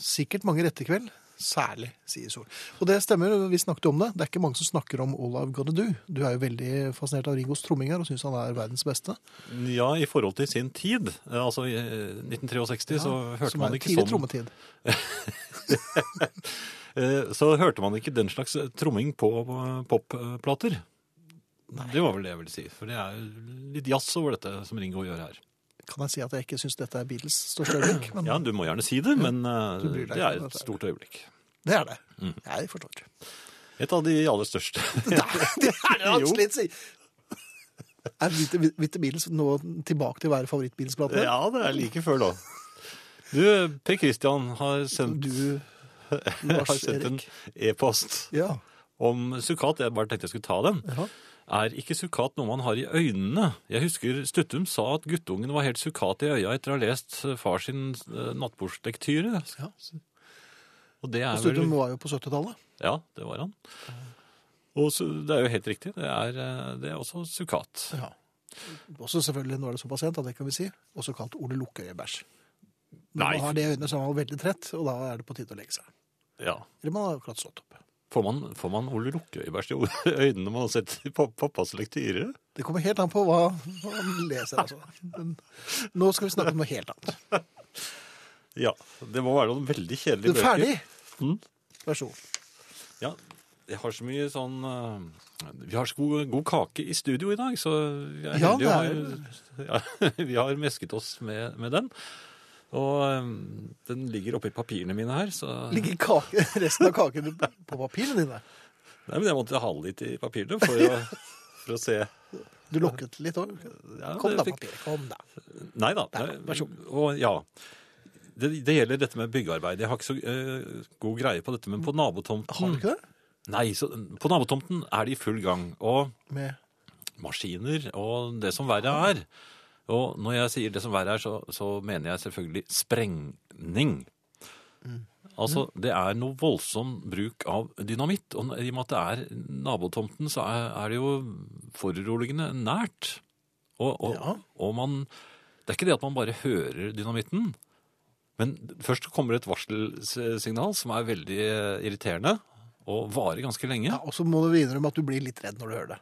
sikkert mange rette kveld, særlig, sier Sol. Og det stemmer, vi snakket om det. Det er ikke mange som snakker om All I've Gotta Do. Du er jo veldig fascinert av Ringos tromminger og syns han er verdens beste. Ja, i forhold til sin tid. Eh, Altså i eh, 1963 så hørte som man er ikke tidlig sånn trommetid. Eh, Så hørte man ikke den slags tromming på eh, popplater. Det var vel det jeg ville si. For det er litt jazz over dette som Ringo gjør her. Kan jeg si at jeg ikke syns dette er Beatles største øyeblikk, men Ja, du må gjerne si det, men eh, Du bryr deg det ikke om er dette et her. stort øyeblikk. det er det. Mm. Jeg forstår. Et av de aller største. Det er det han Jo. slitt sier! Er Vitte Vitte Beatles nå tilbake til å være favoritt-Beatles-platene? ja, det er like før, da. Du, Per Christian har sendt, Du, har Lars sendt en Erik. e-post Ja. om sukkat. Jeg bare tenkte jeg skulle ta den. Jaha. Er ikke sukkat noe man har i øynene? Jeg husker Stuttum sa at guttungen var helt sukkat i øya etter å ha lest eh, far sin eh, nattbordslektyre. Ja. Og det er vel Studium var jo på 70-tallet. Ja, det var han. Og så, det er jo helt riktig. Det er, eh, det er også sukkat. Ja. Også selvfølgelig, nå er det såpass sent, at det kan vi si, også kalt Ole Lukkøye-bæsj. Når Nei. man har det i øynene, så er man veldig trett, og da er det på tide å legge seg. Ja. Eller man har akkurat stått opp. Får man, får man Ole Lukkøybæsj i øynene man har sett i pa- pappas lektyre? Det kommer helt an på hva man leser, altså. Men nå skal vi snakke om noe helt annet. Ja. Det må være noen veldig Du kjedelige er ferdig? Mm. Vær så god. Ja, jeg har så mye sånn eh, Vi har så god, god kake i studio i dag, så jeg er Ja, heldig å ha- ja, vi har mesket oss med, med den. Og eh, den ligger oppi papirene mine her, så Ligger kake, resten av kaken på papirene dine? Nei, men jeg måtte ha litt i papirene for å, for å se. Du lukket litt òg. Ja, Kom det da, fikk- papiret. Kom da. Nei da. Der, vær så Og ja. Det, det gjelder dette med byggearbeid. Jeg har ikke så eh, god greie på dette, men på nabotomten Har du ikke det? Nei, så, på nabotomten er de i full gang. Og Med maskiner og det som verre er. Og når jeg sier det som verre er, så, så mener jeg selvfølgelig sprengning. Mm. Altså, det er noe voldsom bruk av dynamitt. Og i og med at det er nabotomten, så er, er det jo foruroligende nært. Og, og, Ja. og man Det er ikke det at man bare hører dynamitten. Men først kommer et varselsignal som er veldig eh, irriterende og varer ganske lenge. Ja, Og så må du innrømme at du blir litt redd når du hører det.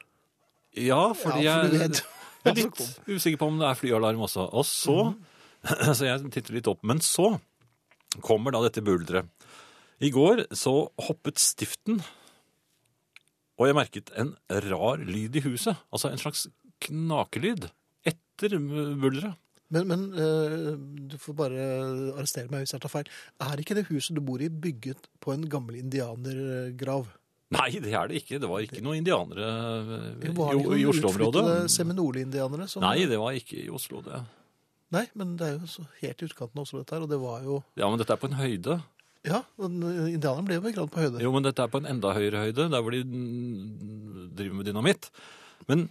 Ja, fordi Ja, for du jeg, vet jeg er litt usikker på om det er flyalarm også. Og så Så jeg titter litt opp. Men så kommer da dette buldret. I går så hoppet stiften, og jeg merket en rar lyd i huset. Altså en slags knakelyd etter buldret. Men, men eh, du får bare arrestere meg hvis jeg tar feil. Er ikke det huset du bor i bygget på en gammel indianergrav? Nei, det er det ikke. Det var ikke noen indianere eh, Jo, var i, det ikke i noen Oslo-området. utflyttede Seminole-indianere som Nei, det var ikke i Oslo, det. Nei, men det er jo så helt i utkanten av Oslo, dette her. Og det var jo Ja, men dette er på en høyde. Ja, den- indianerne ble jo begravd på høyde. Jo, men dette er på en enda høyere høyde, der hvor de mm, driver med dynamitt. Men,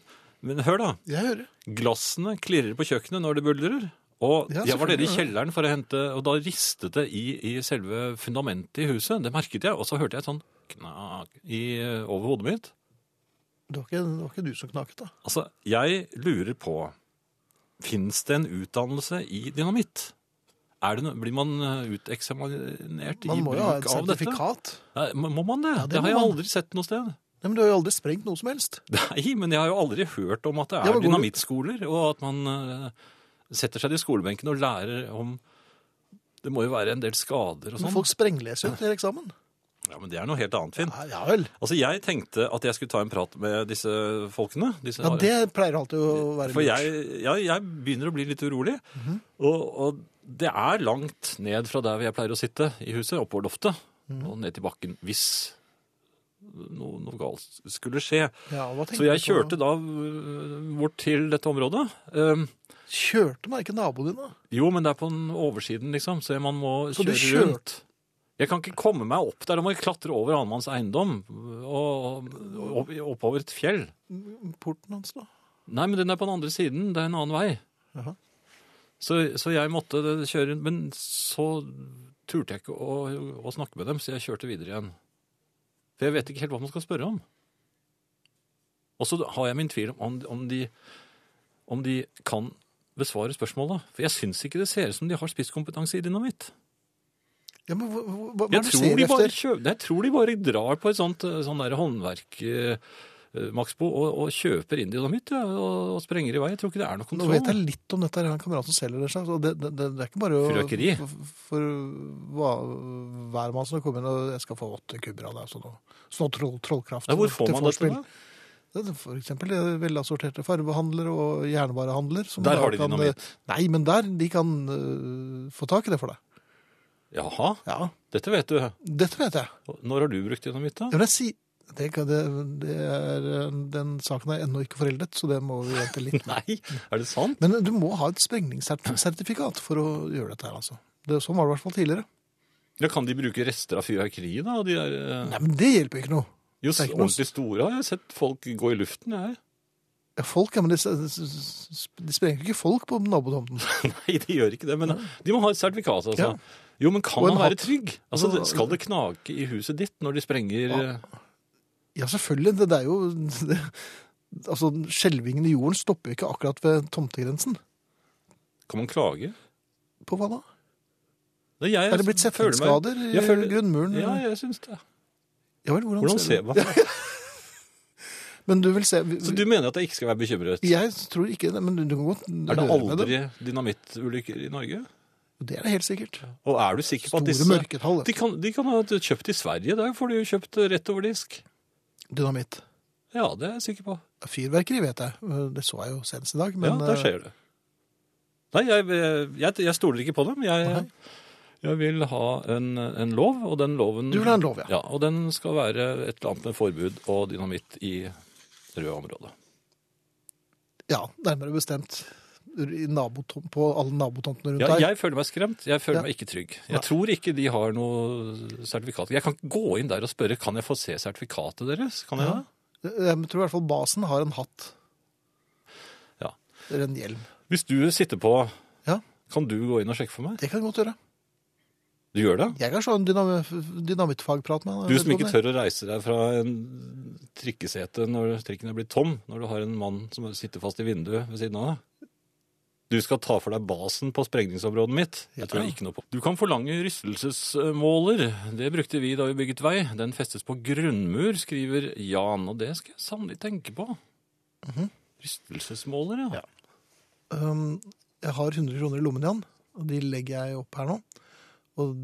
men hør da, Jeg hører. glassene klirrer på kjøkkenet når det buldrer. Og Ja, jeg var nede i selvfølgelig, kjelleren for å hente, og da ristet det i, i selve fundamentet i huset. Det merket jeg, og så hørte jeg et sånn knak i, over hodet mitt. Det var, ikke, det var ikke du som knaket, da. Altså, jeg lurer på, finnes det en utdannelse i dynamitt? Er det noe, blir man eh, uteksaminert i Man må jo ha et bruk av dette? sertifikat. Nei, må man det? Ja, det det, må har jeg man. aldri sett noe sted. Nei, men du har jo aldri sprengt noe som helst. Nei, men jeg har jo aldri hørt om at det Ja, er men går du- dynamittskoler, og at man eh, setter seg i skolebenken og lærer om Det må jo være en del skader og Men sånn. folk sprengleser jo til eksamen. Ja, men det er noe helt annet, Finn. Ja, ja vel. Altså, jeg tenkte at jeg skulle ta en prat med disse folkene. Disse Ja, det pleier alltid å være For lurt. Mhm. jeg, jeg, jeg begynner å bli litt urolig. og, og det er langt ned fra der hvor jeg pleier å sitte i huset, oppover loftet, Mhm. og ned til bakken hvis noe, noe galt skulle skje. Ja, hva tenkte Så jeg du på? kjørte da øh, bort til dette området. Um, Kjørte meg ikke naboen din, da? Jo, men det er på den oversiden, liksom, så man må Så du kjøre rundt. Jeg kan ikke komme meg opp der, da må jeg klatre over annenmanns eiendom øh, og, og oppover et fjell. Porten hans, da? Nei, men den er på den andre siden. Det er en annen vei. Jaha. Så, så jeg måtte kjøre rundt. Men så turte jeg ikke å, å snakke med dem, så jeg kjørte videre igjen. For jeg vet ikke helt hva man skal spørre om. Og så har jeg min tvil om, om, om, de, om de kan besvare spørsmålet. For jeg syns ikke det ser ut som de har spisskompetanse i dynamitt. Ja, men hva, hva, hva er det Jeg du tror, ser de bare etter? kjø... Nei, jeg tror de bare drar på et sånt eh, sånn der håndverk, eh, eh, Maxbo, og, og kjøper inn dynamitt ja, og, og sprenger i vei. Jeg tror ikke det er noe Nå kontroll. vet jeg litt om dette. her, Jeg har en kamerat som selger det seg. så Det, det, det, det er ikke bare å Fyrverkeri. For, for hva- hver mann som kommer inn og jeg skal få åtte kubber av deg. Sånn, og- sånn troll, trollkraft. Ja, hvor får til man dette forspill. da? Det er For eksempel eh, velassorterte farvehandlere og jernvarehandler. som Der da har de kan, dynamitt. eh, Nei, men der, de kan eh, få tak i det for deg. Jaha, Ja, dette vet du. dette vet jeg. Når har du brukt dynamitt, da? Ja, men jeg sier... Det, kan- det, det er, eh, den saken er ennå ikke foreldet, så det må vi vente litt Nei, er det sant? Men du må ha et sprengningssertifikat for å gjøre dette her, altså. Det, sånn var det i hvert fall tidligere. Ja, kan de bruke rester av fyrverkeriet, da? De er, eh, Nei, men det hjelper ikke noe. jo, det er ikke noe- ordentlig store har jeg sett folk gå i luften, jeg. Ja, Folk, ja, men de, de sprenger jo ikke folk på nabotomten. Nei, de gjør ikke det, men de må ha et sertifikat, altså. Ja. Jo, men kan Og en man være hatt. trygg? Altså, det- skal det knake i huset ditt når de sprenger eh, Ja, selvfølgelig. Det, det er jo det, Altså, skjelvingen i jorden stopper jo ikke akkurat ved tomtegrensen. Kan man klage? På hva da? Nei, jeg altså Er det blitt føler meg- setningsskader i Jeg føler- grunnmuren? Ja, jeg syns det. Ja vel, hvordan, Hvordan ser man det? Men du vil se Så du mener at jeg ikke skal være bekymret? Jeg tror ikke det, men du, du kan godt Er det høre med dem. aldri dynamittulykker i Norge? Det er det helt sikkert. Og er du sikker på Store at disse mørketall. De kan, de kan ha kjøpt i Sverige, der får de jo kjøpt rett over disk. Dynamitt. Ja, det er jeg sikker på. Fyrverkeri vet jeg. Det så jeg jo senest i dag. Men, eh, ja, der skjer det. Nei, jeg, jeg, jeg stoler ikke på dem. Jeg, jeg vil ha en, en lov, og den loven Du vil ha en lov, ja. Ja, og den skal være et eller annet med forbud og dynamitt i røde områder. Ja, nærmere bestemt i nabotom, på alle nabotomtene rundt Ja, deg. jeg føler meg skremt. Jeg Ja. føler meg ikke trygg. Jeg tror ikke de har noe sertifikat. Jeg kan ikke gå inn der og spørre kan jeg få se sertifikatet deres. Kan jeg Ja. Jeg Eh, tror i hvert fall basen har en hatt. det? Ja. Eller en hjelm. Hvis du sitter på, Ja. kan du gå inn og sjekke for meg? Det kan jeg godt gjøre. Du gjør det? Jeg kan se en dynam- dynamittfagprat med han. Du som ikke tør å reise deg fra en trikkesete når trikken er blitt tom, når du har en mann som sitter fast i vinduet ved siden av deg. Du skal ta for deg basen på sprengningsområdet mitt. Det tror jeg ikke noe på. Du kan forlange rystelsesmåler. Det brukte vi da vi bygget vei. Den festes på grunnmur, skriver Jan. Og det skal jeg sannelig tenke på. Mhm. Rystelsesmåler, ja. Um, jeg har 100 kroner i lommen igjen. og de legger jeg opp her nå. Og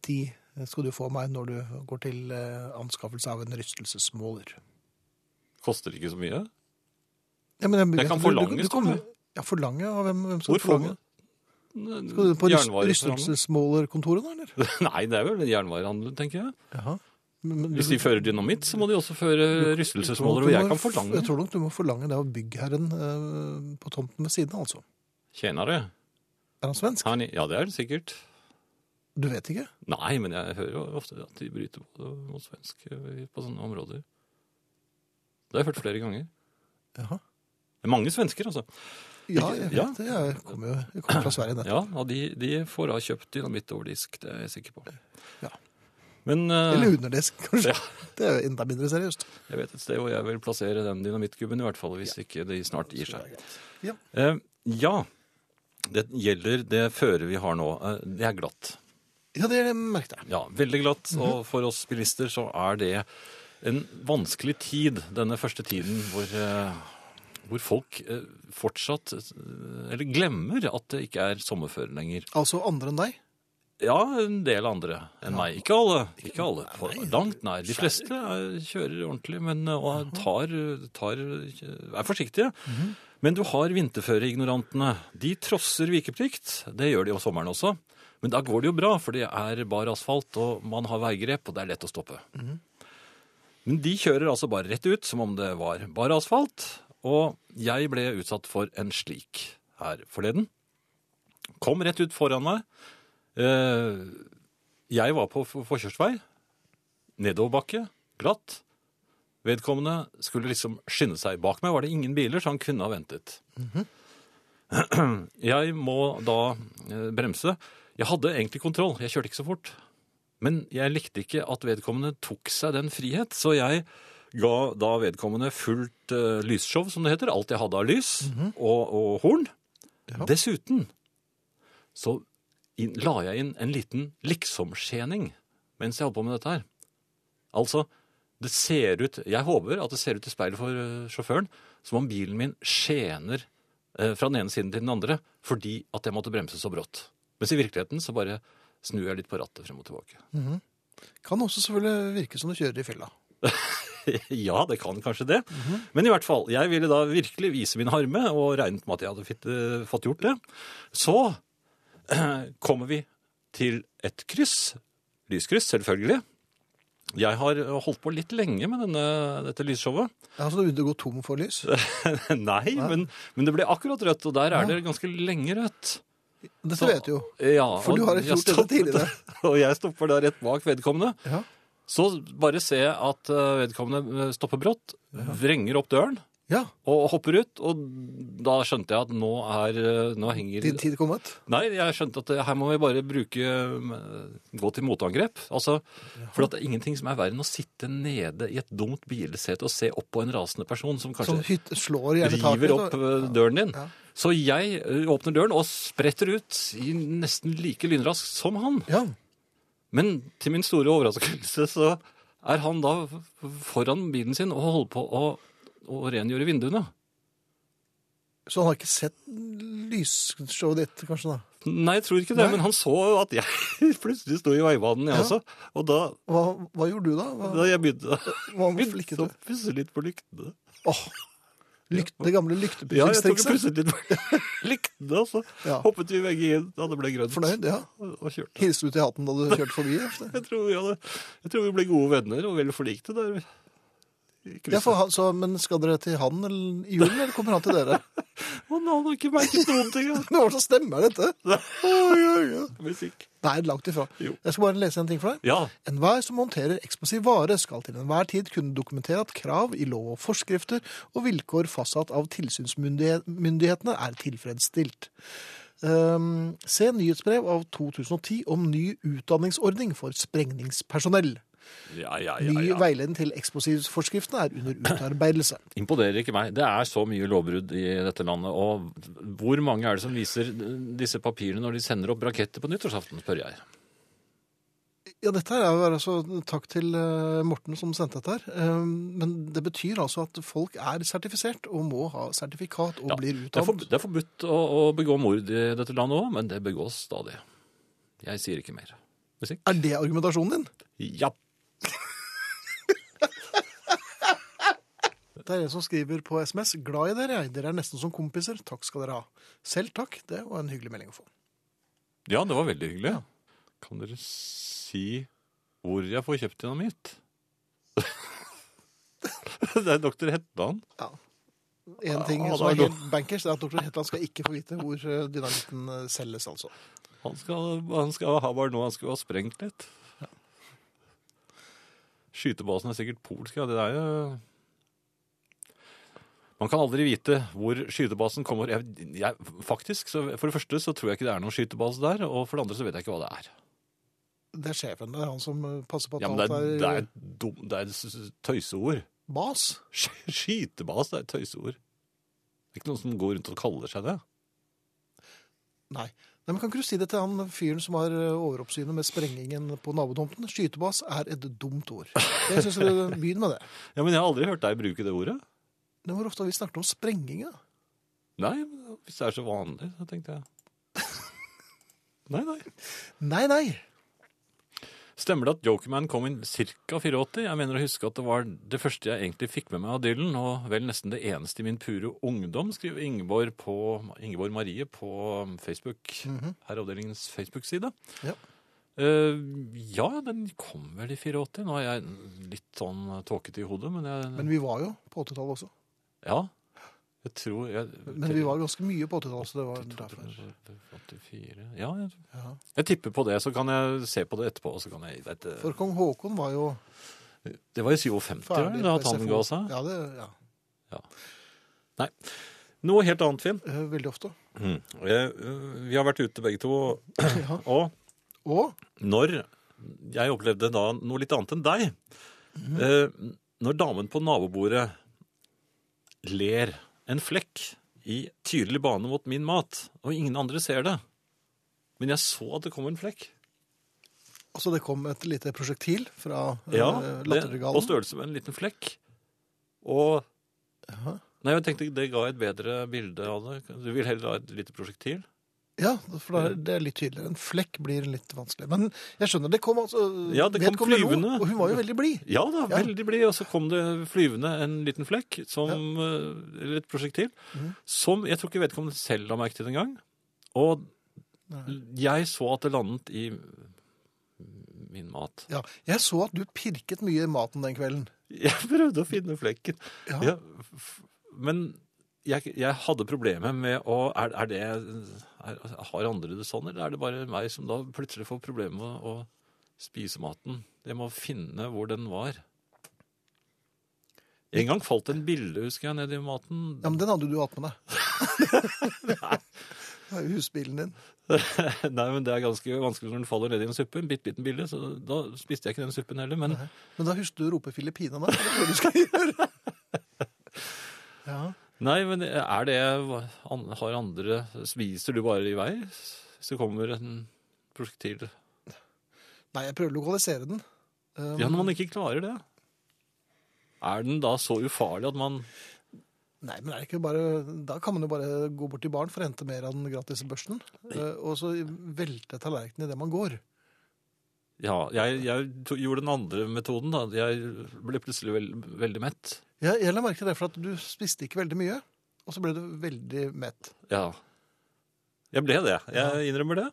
de skal du få av meg når du går til eh, anskaffelse av en rystelsesmåler. Koster ikke så mye. Ja, men Det kan du- du- du- forlanges, du kommer- kan du? Ja, forlange av hvem, hvem skal Hvor får forlange? man Skal du på ryst- Jernvarerestaurant? rystelsesmålerkontoret, da, eller? Nei, det er vel jernvarehandel, tenker jeg. Jaha. Men- men du- Hvis de fører dynamitt, så må de også føre rystelsesmåler, du og må- jeg kan Jeg forlange tror nok du må forlange det av byggherren eh, på tomten ved siden av, altså. tjenere. Er han svensk? Han- Ja, det er det sikkert. Du vet ikke? Nei, men jeg hører jo ofte at de bryter mot mot svensk eh, på sånne områder. Det har jeg hørt flere ganger. Jaha. Det er mange svensker, altså. Ja, jeg Ja. vet det. Jeg kommer jo jeg kommer fra Sverige, det. Ja, og de, de får da kjøpt dynamitt over disk, det er jeg sikker på. Ja. Men eh, Eller underdesk, kanskje. Ja. Det er jo enda mindre seriøst. jeg vet et sted hvor jeg vil plassere den dynamittkubben, i hvert fall hvis ikke de snart gir seg. Ja. Eh, ja, det gjelder det føret vi har nå. Eh, det er glatt. Ja, det merket jeg. Ja, veldig glatt. Og for oss bilister så er det en vanskelig tid, denne første tiden hvor, eh, hvor folk eh, fortsatt eh, Eller glemmer at det ikke er sommerføre lenger. Altså andre enn deg? Ja, en del andre enn meg. Ikke alle. Ikke alle. På langt nær. De fleste er, kjører ordentlig men, eh, og tar, tar, er forsiktige. Men du har vinterføreignorantene. De trosser vikeplikt. Det gjør de om sommeren også. Men da går det jo bra, for det er bar asfalt, og man har veigrep, og det er lett å stoppe. Men de kjører altså bare rett ut, som om det var bar asfalt. Og jeg ble utsatt for en slik her forleden. Kom rett ut foran meg. Eh, jeg var på for- forkjørsvei, nedoverbakke, glatt. Vedkommende skulle liksom skynde seg. Bak meg var det ingen biler, så han kunne ha ventet. Jeg må da eh, bremse. Jeg hadde egentlig kontroll, jeg kjørte ikke så fort. Men jeg likte ikke at vedkommende tok seg den frihet, så jeg ga da vedkommende fullt eh, lysshow, som det heter. Alt jeg hadde av lys og, og horn. Ja. Dessuten så inn, la jeg inn en liten liksomskjening mens jeg holdt på med dette her. Altså, det ser ut Jeg håper at det ser ut i speilet for eh, sjåføren som om bilen min skjener eh, fra den ene siden til den andre fordi at jeg måtte bremse så brått. Mens i virkeligheten så bare snur jeg litt på rattet frem og tilbake. Kan også selvfølgelig virke som du kjører i fella. ja, det kan kanskje det. Men i hvert fall, jeg ville da virkelig vise min harme, og regnet med at jeg hadde fitt, eh, fått gjort det. Så kommer vi til et kryss. Lyskryss, selvfølgelig. Jeg har eh, holdt på litt lenge med denne, dette lysshowet. Altså, du begynte å gå tom for lys? Nei, men, men det ble akkurat rødt, og der er det ganske lenge rødt. Dette Så- vet du jo. Ja, For og du har jeg gjort dette stoppet- tidligere. Og jeg stopper da rett bak vedkommende. Ja. Så bare ser jeg at eh, vedkommende stopper brått, vrenger opp døren ja. og hopper ut. Og da skjønte jeg at nå er eh, Nå henger Din tid kommet? Nei, jeg skjønte at eh, her må vi bare bruke eh, Gå til motangrep. Altså, for at det er ingenting som er verre enn å sitte nede i et dumt bilsete og se opp på en rasende person som Som kanskje hytt Sånn slår gjerne taket? river opp og- eh, døren din. Ja. Så jeg eh, åpner døren og spretter ut i nesten like lynraskt som han. Ja. Men til min store overraskelse så er han da foran bilen sin og holder på å, å rengjøre vinduene. Så han har ikke sett lysshowet ditt, kanskje? da? Nei, jeg tror ikke det, Nei. men han så at jeg plutselig sto i veibanen, jeg Ja. også. Og da, Hva, hva gjorde du da? Hva, da jeg begynte hva flikket begynte du? å pusse litt på lyktene Åh, lykt, det gamle Ja, jeg tok og lyktepussingstrikset? pusset litt på lyktene, og så Ja. hoppet vi begge inn da det ble grønt. Fornøyd? Ja. Og og kjørte. Hilste du til hatten da du kjørte forbi? Jeg tror, vi hadde, jeg tror vi ble gode venner og vel forlikte der. i Ja, for krysset. han, så, men skal dere til han eller, i julen, eller kommer han til dere? Og nå har du ikke merket noen ting av Men hva slags stemme er dette? Oi, oi, oi. musikk. Nei, langt ifra. Jo. Jeg skal bare lese en ting for deg. Ja, Enhver som håndterer eksplosiv vare, skal til enhver tid kunne dokumentere at krav i lov og forskrifter og vilkår fastsatt av tilsynsmyndighetene er tilfredsstilt. Ehm, se nyhetsbrev av 2010 om ny utdanningsordning for sprengningspersonell. ja, ja, Ny ja, ja. veiledning til eksplosivforskriftene er under utarbeidelse. Imponerer ikke meg. Det er så mye lovbrudd i dette landet, og hvor mange er det som viser disse papirene når de sender opp raketter på nyttårsaften, spør jeg. Ja, dette her er jo altså Takk til eh, Morten som sendte dette her. Eh, Men det betyr altså at folk er sertifisert og må ha sertifikat og Ja, blir Det er, utdannet. for, det er forbudt å, å begå mord i dette landet òg, men det begås stadig. Jeg sier ikke mer. Musikk? Er det argumentasjonen din? Ja. Det er en som skriver på SMS. Glad i dere, jeg. Dere er nesten som kompiser. Takk skal dere ha. Selv takk. Det var en hyggelig melding å få. ja, det var veldig hyggelig. Kan dere si hvor jeg får kjøpt dynamitt? det er doktor Hetland. Ja. En ting Ja, det som er var helt bankers, det er at dr. Hetland skal ikke få vite hvor eh, dynamitten eh, selges, altså. Han skal, han skal ha bare noe han skulle ha sprengt litt. Skytebasen er sikkert polsk, ja. Det er jo Man kan aldri vite hvor skytebasen kommer. Jeg, jeg, faktisk, så For det første så tror jeg ikke det er noen skytebase der, og for det andre så vet jeg ikke hva det er. Det er sjefen. Det er han som eh, passer på at Ja, men det alt er, er, eh, det er, dum, det er s- s- tøyseord. bas. Sk- Skytebas, det er et tøyseord. Det er ikke noen som går rundt og kaller seg det. Nei. Nei, men Kan ikke du si det til han fyren som har eh, overoppsynet med sprengingen på nabotomten? Skytebas er et dumt ord. Jeg syns du begynn med det. Ja, Men jeg har aldri hørt deg bruke det ordet. Det var ofte har vi snakket om sprenging, da. Nei, men hvis det er så vanlig, så tenkte jeg. Nei, nei. Nei, nei. Stemmer det at Jokerman kom inn ca. 84? Jeg mener å huske at det var det første jeg egentlig fikk med meg av Dylan, og vel nesten det eneste i min pure ungdom, skriver Ingeborg, på, Ingeborg Marie på Facebook, herreavdelingens Facebook-side. Ja. Eh, ja, den kom vel i 84. Nå er jeg litt sånn tåkete i hodet, men jeg Men vi var jo på 80-tallet også. Ja. Jeg tror jeg, Men vi var ganske mye på 80-tallet, så det var derfor. 84 Ja, jeg, Ja. jeg tipper på det, så kan jeg se på det etterpå. og Så kan jeg, dette, For kong Haakon var jo det var i 57 var ferdig det da at han SFO. ga seg. Ja, det, ja. Noe helt annet, Finn. Eh, Veldig ofte. Mm. Jeg, øh, vi har vært ute begge to, og, Ja. og Og når jeg opplevde da noe litt annet enn deg Mhm. eh, Når damen på nabobordet ler en flekk i tydelig bane mot min mat, og ingen andre ser det Men jeg så at det kom en flekk. altså, det kom et lite prosjektil fra eh, Ja, det, på latterregalen. størrelse med en liten flekk. Og Nei, jeg tenkte det ga et bedre bilde av det. Du vil heller ha et lite prosjektil? Ja, for det er, det er litt tydeligere. En flekk blir litt vanskelig. Men jeg skjønner, det kom altså Ja, det kom vedkommende lo, flyvende. Og hun var jo veldig blid. Ja da, Ja. veldig blid. Og så kom det flyvende en liten flekk, som, eh, eller et prosjektil, som jeg tror ikke vedkommende selv la merke til engang. Og jeg så at det landet i min mat. Ja, jeg så at du pirket mye i maten den kvelden. Jeg prøvde å finne flekken. Ja. Ja, f- men jeg, jeg hadde problemer med å er, er det, er, Har andre det sånn, eller er det bare meg som da plutselig får problemer med å spise maten? Jeg må finne hvor den var. En gang falt en bille, husker jeg, ned i maten. Ja, men den hadde du hatt med deg. Det er jo husbilen din. Nei, men Det er ganske vanskelig når den faller ned i en suppe. En bitte liten bille. Så da spiste jeg ikke den suppen heller. Men Men da husker du å rope 'Filippinene'. Det er det du skal gjøre. Ja. Nei, men er det an- Har andre Spiser du bare i vei? Så kommer en prosjektil Nei, jeg prøver å lokalisere den. Um, Ja, når man ikke klarer det. Er den da så ufarlig at man Nei, men er det ikke bare, Da kan man jo bare gå bort til baren for å hente mer av den gratis børsten, eh, og så velte tallerkenen idet man går. Ja, jeg, jeg to- gjorde den andre metoden, da. Jeg ble plutselig vel, veldig mett. Jeg, jeg la merke til det, for at du spiste ikke veldig mye, og så ble du veldig mett. Ja. Jeg ble det. Jeg innrømmer det.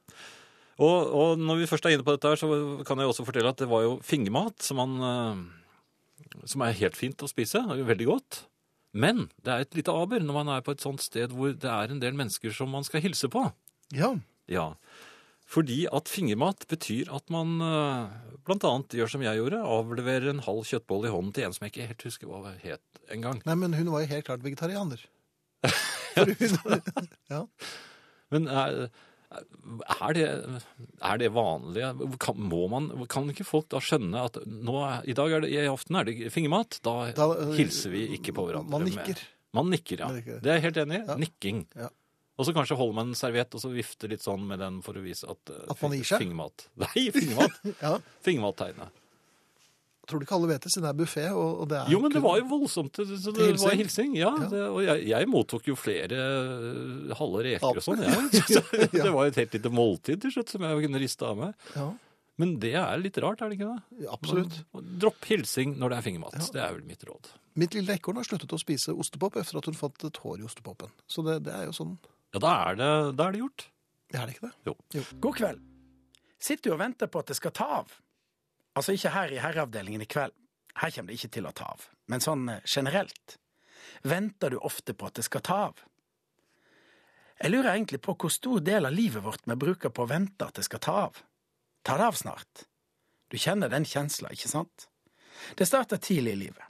Og, og når vi først er inne på dette, her, så kan jeg også fortelle at det var jo fingermat som, man, eh, som er helt fint å spise. Det er jo Veldig godt. Men det er et lite aber når man er på et sånt sted hvor det er en del mennesker som man skal hilse på. Ja, Ja, fordi at fingermat betyr at man eh, blant annet gjør som jeg gjorde, avleverer en halv kjøttboll i hånden til en som jeg ikke helt husker hva det het en gang. Nei, men hun var jo helt klart vegetarianer. For hun, ja. Men er, er, det, er det vanlig? Kan, må man, kan ikke folk da skjønne at nå, er- i dag er det, i aften er det fingermat, da, Da, eh, hilser vi ikke på hverandre. man med- nikker. Man nikker, ja. Man nikker. Det er jeg helt enig i. Ja. Nikking. Ja. Og så kanskje holde med en serviett og så vifte litt sånn med den for å vise at eh, At man gir seg? Fingermat. Nei, fingermat. Ja, Fingermattegnet. Tror du ikke alle vet det, siden det er buffé? Og, og det er Jo, men det var jo voldsomt. Det, så det Hilsing. var hilsing. Ja, Ja. det, og jeg, jeg mottok jo flere eh, Ja. halve reker og sånn. jeg. Så Ja. Det var jo et helt lite måltid til slutt som jeg kunne riste av meg. Ja, Men det er litt rart, er det ikke det? absolutt. Dropp hilsing når det er fingermat. Det er vel mitt råd. Mitt lille ekorn har sluttet å spise ostepop etter at hun fant et hår i ostepopen. Så det, det er jo sånn. Ja, da er det, da er det gjort. Er det ikke det? God kveld. Sitter du og venter på at det skal ta av? Altså ikke her i herreavdelingen i kveld. Her kommer det ikke til å ta av. Men sånn eh, generelt. Venter du ofte på at det skal ta av? Jeg lurer egentlig på hvor stor del av livet vårt vi bruker på å vente at det skal ta av. Ta det av snart. Du kjenner den kjensla, ikke sant? Det starter tidlig i livet.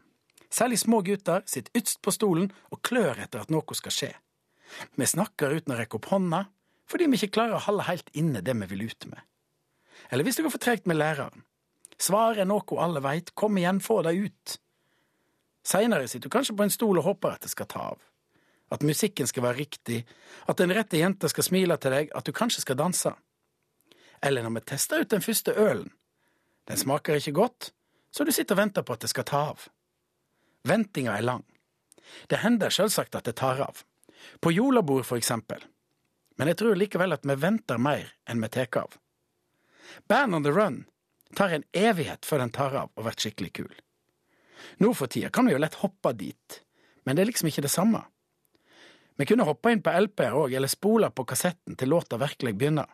Særlig små gutter sitter ytst på stolen og klør etter at noe skal skje. Vi snakker uten å rekke opp hånda, fordi vi ikke klarer å holde helt inne det vi vil ut med. Eller hvis det går for tregt med læreren. Svaret er noe alle veit, kom igjen, få det ut. Seinere sitter du kanskje på en stol og håper at det skal ta av. At musikken skal være riktig, at den rette jenta skal smile til deg, at du kanskje skal danse. Eller når vi tester ut den første ølen. Den smaker ikke godt, så du sitter og venter på at det skal ta av. Ventinga er lang. Det hender sjølsagt at det tar av. På julebord, for eksempel. Men jeg tror likevel at vi venter mer enn vi tar av. Band on the Run tar en evighet før den tar av og blir skikkelig kul. Nå for tida kan vi jo lett hoppe dit, men det er liksom ikke det samme. Vi kunne hoppa inn på LP-er òg, eller spola på kassetten til låta virkelig begynner.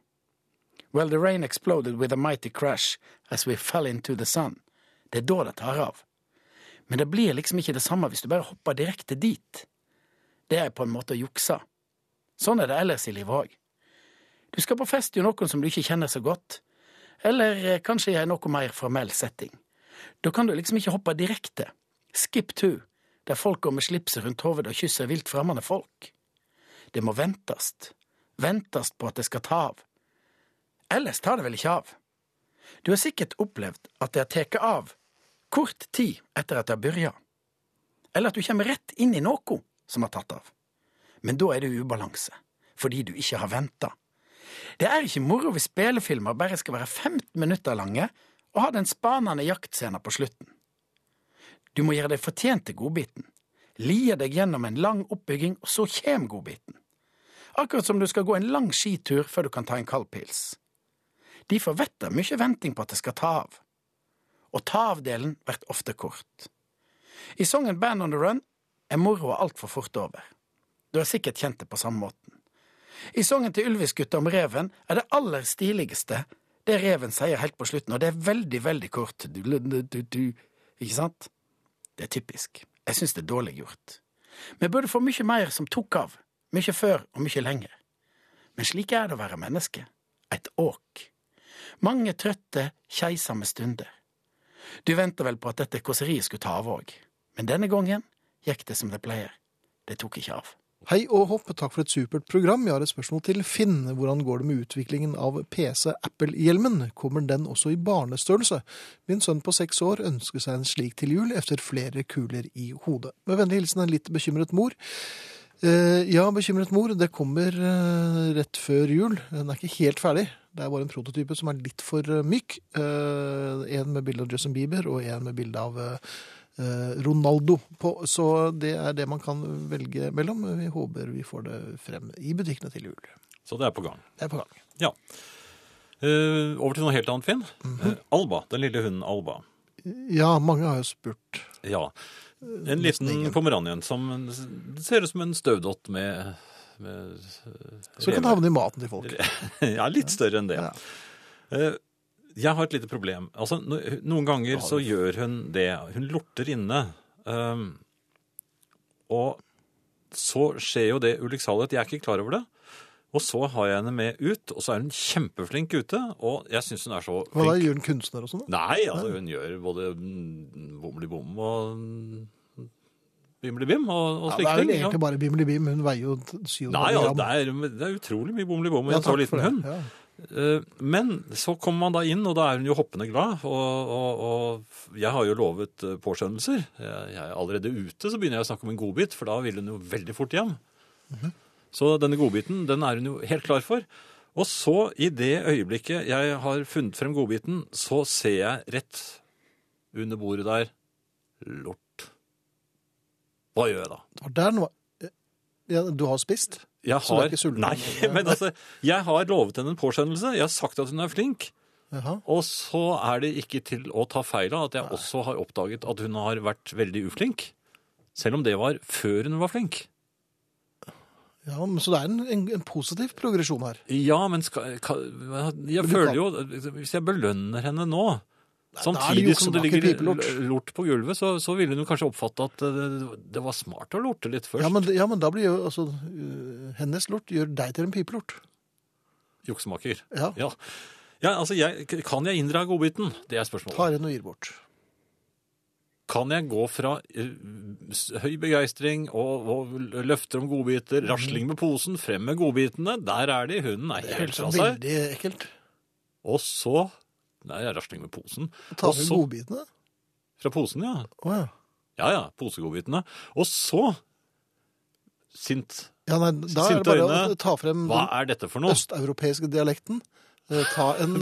Well, the rain exploded with a mighty crash as we fell into the sun. Det er da det tar av. Men det blir liksom ikke det samme hvis du bare hopper direkte dit. Det er på en måte å jukse. Sånn er det ellers i livet òg. Du skal på fest i noen som du ikke kjenner så godt, eller eh, kanskje i en noe mer formell setting. Da kan du liksom ikke hoppe direkte. Skip to, der folk går med slipset rundt hodet og kysser vilt fremmede folk. Det må ventast. Ventast på at det skal ta av. Ellers tar det vel ikke av. Du har sikkert opplevd at det har tatt av kort tid etter at det har begynt. Eller at du kommer rett inn i noe som har tatt av. Men da er det ubalanse, fordi du ikke har venta. Det er ikke moro hvis spillefilmer bare skal være 15 minutter lange og ha den spanende jaktscenen på slutten. Du må gjøre deg fortjent til godbiten. Lie deg gjennom en lang oppbygging, og så kjem godbiten. Akkurat som du skal gå en lang skitur før du kan ta en kald pils. Derfor vet det mye venting på at det skal ta av. Og ta-av-delen blir ofte kort. I sangen Band on the Run er moroa altfor fort over. Du har sikkert kjent det på samme måten. I sangen til Ylvis-gutta om reven er det aller stiligste det reven sier helt på slutten, og det er veldig, veldig kort. Du, du, du, du, du. Ikke sant? Det er typisk. Jeg syns det er dårlig gjort. Vi burde få mye mer som tok av, mye før og mye lenger. Men slik er det å være menneske. Et åk. Mange trøtte, keisamme stunder. Du venter vel på at dette kåseriet skulle ta av òg, men denne gangen gikk det som det pleier. Det tok ikke av. Hei og hopp, takk for et supert program. Jeg har et spørsmål til Finn. Hvordan går det med utviklingen av PC Apple-hjelmen? Kommer den også i barnestørrelse? Min sønn på seks år ønsker seg en slik til jul etter flere kuler i hodet. Med vennlig hilsen en litt bekymret mor. Eh, ja, bekymret mor, det kommer eh, rett før jul. Den er ikke helt ferdig. Det er bare en prototype som er litt for eh, myk. Eh, en med bilde av Justin Bieber og en med bilde av eh, eh, Ronaldo på. Så det er det man kan velge mellom. Vi håper vi får det frem i butikkene til jul. Så det er på gang. Det er på gang. Ja. Eh, over til noe helt annet, Finn. Mhm. Eh, Alba, den lille hunden Alba. Ja, mange har jo spurt. Ja. En liten pomeranien som en- det ser ut som en støvdott med, med eh, Så kan det havne i maten til folk. Ja, litt større enn det. Ja. Eh, Jeg har et lite problem. Altså, no- noen ganger så gjør hun det. Hun lorter inne. Um, og så skjer jo det ulykksalig at jeg er ikke klar over det. Og så har jeg henne med ut, og så er hun kjempeflink ute. Og jeg syns hun er så flink. Hva da, gjør den kunstner og sånn? da? Nei, altså hun gjør både mm, bomli-bom og mm, bimli-bim og, og Ja, det slike er vel ting. Ja. egentlig bare bimli-bim. Hun veier jo 7,5 Nei, altså, gram. det, er, det er utrolig mye bomli-bom i Ja, en så takk for liten det. hund. Ja. Eh, Men så kommer man da inn, og da er hun jo hoppende glad. Og, og, og jeg har jo lovet eh, påskjønnelser. Mhm. Jeg jeg er allerede ute, så begynner jeg å snakke om en godbit, for da vil hun jo veldig fort hjem. Så denne godbiten den er hun jo helt klar for. Og så, i det øyeblikket jeg har funnet frem godbiten, så ser jeg rett under bordet der lort. Hva gjør jeg da? Det var der noe ja, Du har spist? Jeg Så du er har, ikke sulten? nei, men altså, jeg har lovet henne en påskjønnelse. Jeg har sagt at hun er flink. Jaha. Og så er det ikke til å ta feil av at jeg også har oppdaget at hun har vært veldig uflink. Selv om det var før hun var flink. Ja, men så det er en, en, en positiv progresjon her. Ja, men skal, ka- jeg du føler kan- jo liksom, Hvis jeg belønner henne nå, da er det jo samtidig som det ikke ligger pipelort. lort på gulvet, så, så ville hun jo kanskje oppfatte at det, det var smart å lorte litt først. Ja men, ja, men da blir jo altså øh, Hennes lort gjør deg til en pipelort. Juksemaker. Ja. Ja. ja, altså, jeg, kan jeg inndra godbiten? Det er spørsmålet. Tar en og gir bort. Kan jeg gå fra eh, s- høy begeistring og, og løfter om godbiter, Mm. rasling med posen, frem med godbitene, der er de, hunden er helt fra seg, Veldig ekkelt. og så Nei, rasling med posen. Tar Og du så godbitene? Fra posen, ja. Å ja. Ja ja, posegodbitene. Og så Sint. ja nei, da er Sinte det bare å øyne. ta frem Hva den er dette for noe? østeuropeiske dialekten. eh, Ta en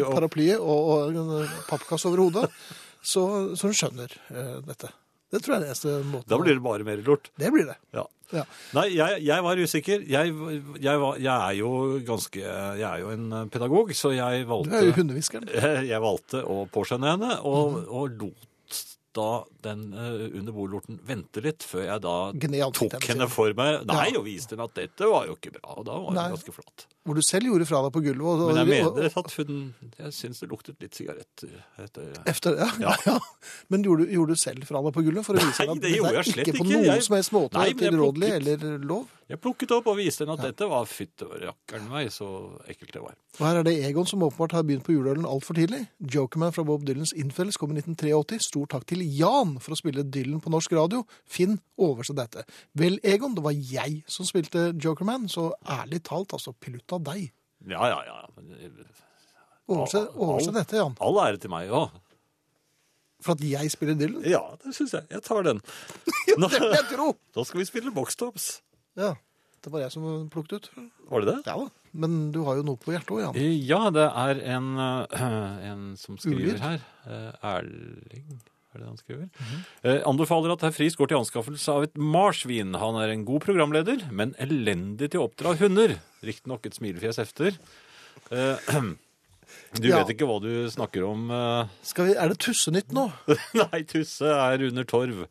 paraply og- og, paraply og, og en eh, pappkasse over hodet, så, så hun skjønner eh, dette. Det tror jeg er den eneste måten. Da blir det bare mer lort. Det blir det. Ja. Ja. Nei, jeg, jeg var usikker. Jeg, jeg, var, jeg er jo ganske Jeg er jo en eh, pedagog, så jeg valgte Du er jo hundehviskeren. Eh, Jeg valgte å påskjønne henne, og, og lot da den eh, under bordlorten vente litt, før jeg da Gni ansiktet tok hennes henne inn. for meg. Nei, Ja. og viste henne at dette var jo ikke bra. Og da var Nei. hun ganske flat. Hvor du selv gjorde fra deg på gulvet. Og, og, Men jeg og- mener at hun Jeg syns det luktet litt sigarett etter Efter, ja. Ja. Men gjorde, du- gjorde du selv fra deg på gulvet for å vise Nei, henne at det gjorde jeg slett ikke på ikke. noen Jeg- som helst måte Nei, men jeg tilrådelig plukket. eller lov? Jeg plukket opp og viste henne at dette var fytterakkeren meg, så ekkelt det var. Og her er det Egon som åpenbart har begynt på juleølen altfor tidlig. Jokerman fra Bob Dylans Infelles kom i 1983. Stor takk til Jan for å spille Dylan på norsk radio. Finn oversett dette. Vel, Egon, det var jeg som spilte Jokerman, så ærlig talt, altså, pilutt av deg. Ja, ja, ja. Men, Overse, Al- overse dette, Jan. All ære til meg òg. For at jeg spiller Dylan? Ja, det syns jeg. Jeg tar den. Nå, Det vil jeg tro! da skal vi spille boxtops. Ja, det var jeg som plukket ut. Var det det? Ja da. Men du har jo noe på hjertet òg, Jan. Ja, det er en, eh, en som skriver Ulyd. her. Eh, Erling, er det han skriver? Mhm. Eh, Anbefaler at herr Friis går til anskaffelse av et marsvin. Han er en god programleder, men elendig til å oppdra hunder. Riktignok et smilefjes efter. Eh, Du Ja. vet ikke hva du snakker om. eh. Skal vi, er det Tussenytt nå? Nei, Tusse er under torv.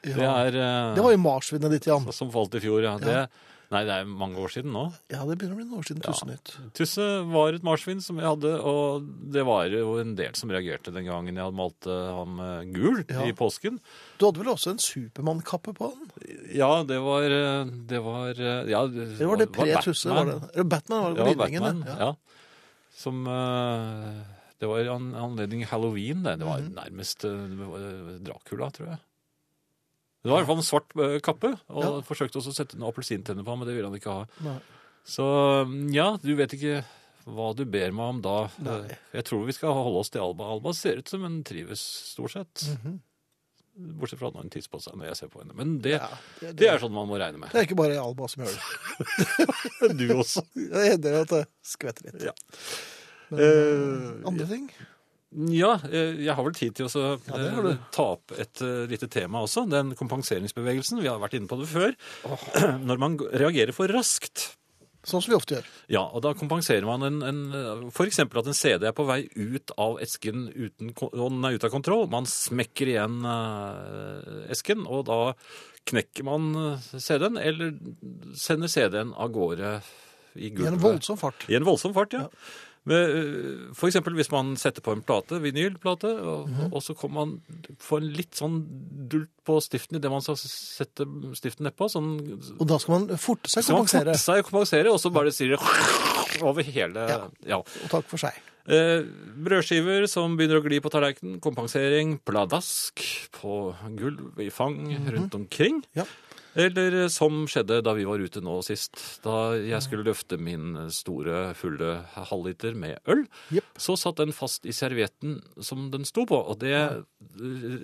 Det er eh, Det var jo marsvinet ditt, Jan. som falt i fjor, ja. Det, nei, det er mange år siden nå. Ja, det begynner å bli noen år siden Tussenytt. Tusse var et marsvin som jeg hadde, og det var jo en del som reagerte den gangen jeg hadde malt eh, ham eh, gul Ja. i påsken. Du hadde vel også en Supermann-kappe på den? Ja, det var eh, Det var eh, ja, Det var det pre-Tusse? var det? Batman. Eller Batman var det Ja, på Batman. linjen. Ja. Ja. Som eh, Det var i an anledning halloween, det. Det var nærmest eh, Dracula, tror jeg. Det var i hvert fall en svart eh, kappe, og Ja. forsøkte også å sette noen appelsintenner på ham, men det ville han ikke ha. Nei. Så mm, ja, du vet ikke hva du ber meg om da. Nei. Jeg tror vi skal holde oss til Alba. Alba ser ut som hun trives stort sett. Bortsett fra når hun tisser på seg når jeg ser på henne. Men det, Ja, det- det, er sånn man må regne med. Det er ikke bare Alba som gjør det. Du også. Det hender at det skvetter litt. Ja. Men Eh, andre ting? Ja, eh, jeg har vel tid til å så, Ja, det har eh, du. ta opp et eh, lite tema også. Den kompenseringsbevegelsen. Vi har vært inne på det før. Når man g- reagerer for raskt. Sånn som vi ofte gjør. Ja, og da kompenserer man en, en for eksempel at en CD er på vei ut av esken uten, ko- og den er ute av kontroll. Man smekker igjen eh, esken, og da knekker man eh, CD-en, eller sender CD-en av gårde i I en gulvet. voldsom fart. I en voldsom fart, ja. Men, eh, for eksempel hvis man setter på en plate, vinylplate, og, og så kommer man får en litt sånn dult på stiften i det man skal sette stiften nedpå, sånn Og da skal man forte seg å så man kompensere. forte seg å kompensere, og så bare sier det over hele ja. Ja. Og takk for seg. Eh, brødskiver som begynner å gli på tallerkenen, kompensering, pladask på gulv, i fang, rundt omkring. Mhm. Ja. Eller eh, som skjedde da vi var ute nå sist. Da jeg skulle løfte min store, fulle halvliter med øl, Jepp. så satt den fast i servietten som den sto på. Og det,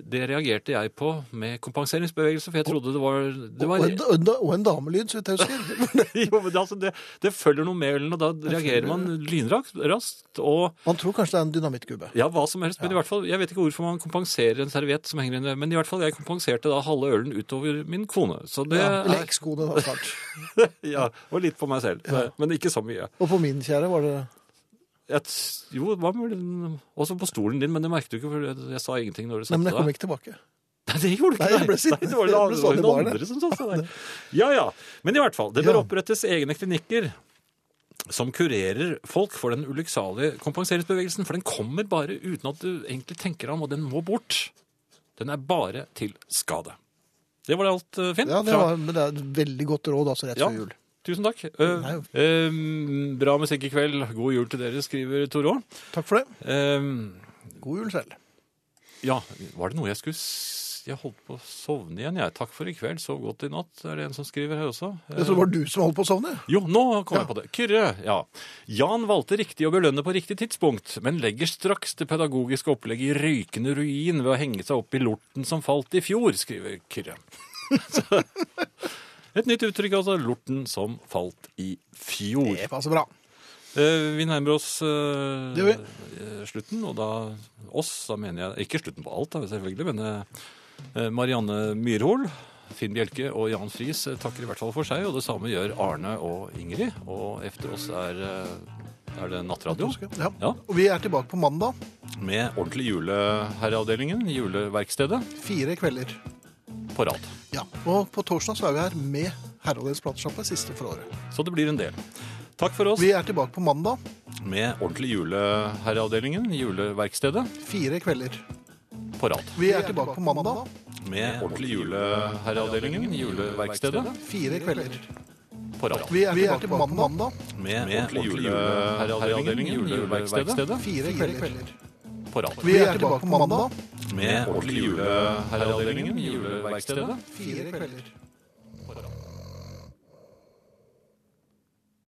det reagerte jeg på med kompenseringsbevegelse, for jeg trodde det var, det Og var en, og en, og en damelyd, så vidt jeg husker. jo, men det, altså, det, det følger noe med ølen, og da reagerer man lynraskt. raskt, Og Man tror kanskje det er en dynamittgubbe. ja, hva som helst. Men i hvert fall, jeg vet ikke hvorfor man kompenserer en serviett som henger inne. Men i hvert fall, jeg kompenserte da halve ølen utover min kone. Så det Ja, eller er, ekskone, da, snart. ja, og litt på meg selv. så- Men ikke så mye. Og på min kjære var det Jeg, t- jo, hva med den- Også på stolen din, men det merket du ikke, for jeg, jeg sa ingenting når du Nei, satte men jeg kom deg. ikke tilbake. Nei, det gjorde du ikke. Nei, jeg nei. ble sittende. Nei, det var det, Jeg ble andre- det stående i var den baren, jeg. andre som satte seg der. Ja, ja. Men i hvert fall, det bør Ja. opprettes egne klinikker som kurerer folk for den ulykksalige kompenseringsbevegelsen, for den kommer bare uten at du egentlig tenker deg om, og den må bort. Den er bare til skade. Det var det alt, eh, Finn. Ja, det fra- var, men det er et veldig godt råd, altså, rett Ja. før jul. Tusen takk. Eh, eh, bra musikk i kveld. God jul til dere, skriver Tore. Takk for det. Eh, God jul selv. Ja, var det noe jeg skulle s- Jeg holdt på å sovne igjen, jeg. Takk for i kveld, sov godt i natt, er det en som skriver her også. Eh, Jeg tror det var du som holdt på å sovne. Jo, nå kom jeg på det. Kyrre, ja. Jan valgte riktig å belønne på riktig tidspunkt, men legger straks det pedagogiske opplegget i røykende ruin ved å henge seg opp i lorten som falt i fjor, skriver Kyrre. Så- Et nytt uttrykk, altså. Lorten som falt i fjor. Det passer bra. Eh, Vi nærmer oss eh, Det gjør eh, slutten, og da oss, da mener jeg ikke slutten på alt, da, selvfølgelig, men eh, Marianne Myrhol, Finn Bjelke og Jan Friis eh, takker i hvert fall for seg, og det samme gjør Arne og Ingrid. Og efter oss er, eh, er det Nattradio Ja. Ja. Og vi er tilbake på mandag. med ordentlig juleherreavdelingen, juleverkstedet, Fire kvelder. på rad. Ja. Og på torsdag så er vi her med Herreavdelens platesjappe, siste for året. Så det blir en del. Takk for oss Vi er tilbake på mandag. med ordentlig juleherreavdelingen, juleverkstedet, Fire kvelder. på rad. Vi er tilbake på mandag. Med ordentlig juleherreavdelingen, juleverkstedet, Fire kvelder. på rad. Vi er tilbake på mandag. med, ordentlig juleherreavdelingen, juleverkstedet, Fire kvelder. på rad. Vi er tilbake på mandag. Med ordentlig juleherreavdelingen, juleverkstedet, Fire kvelder.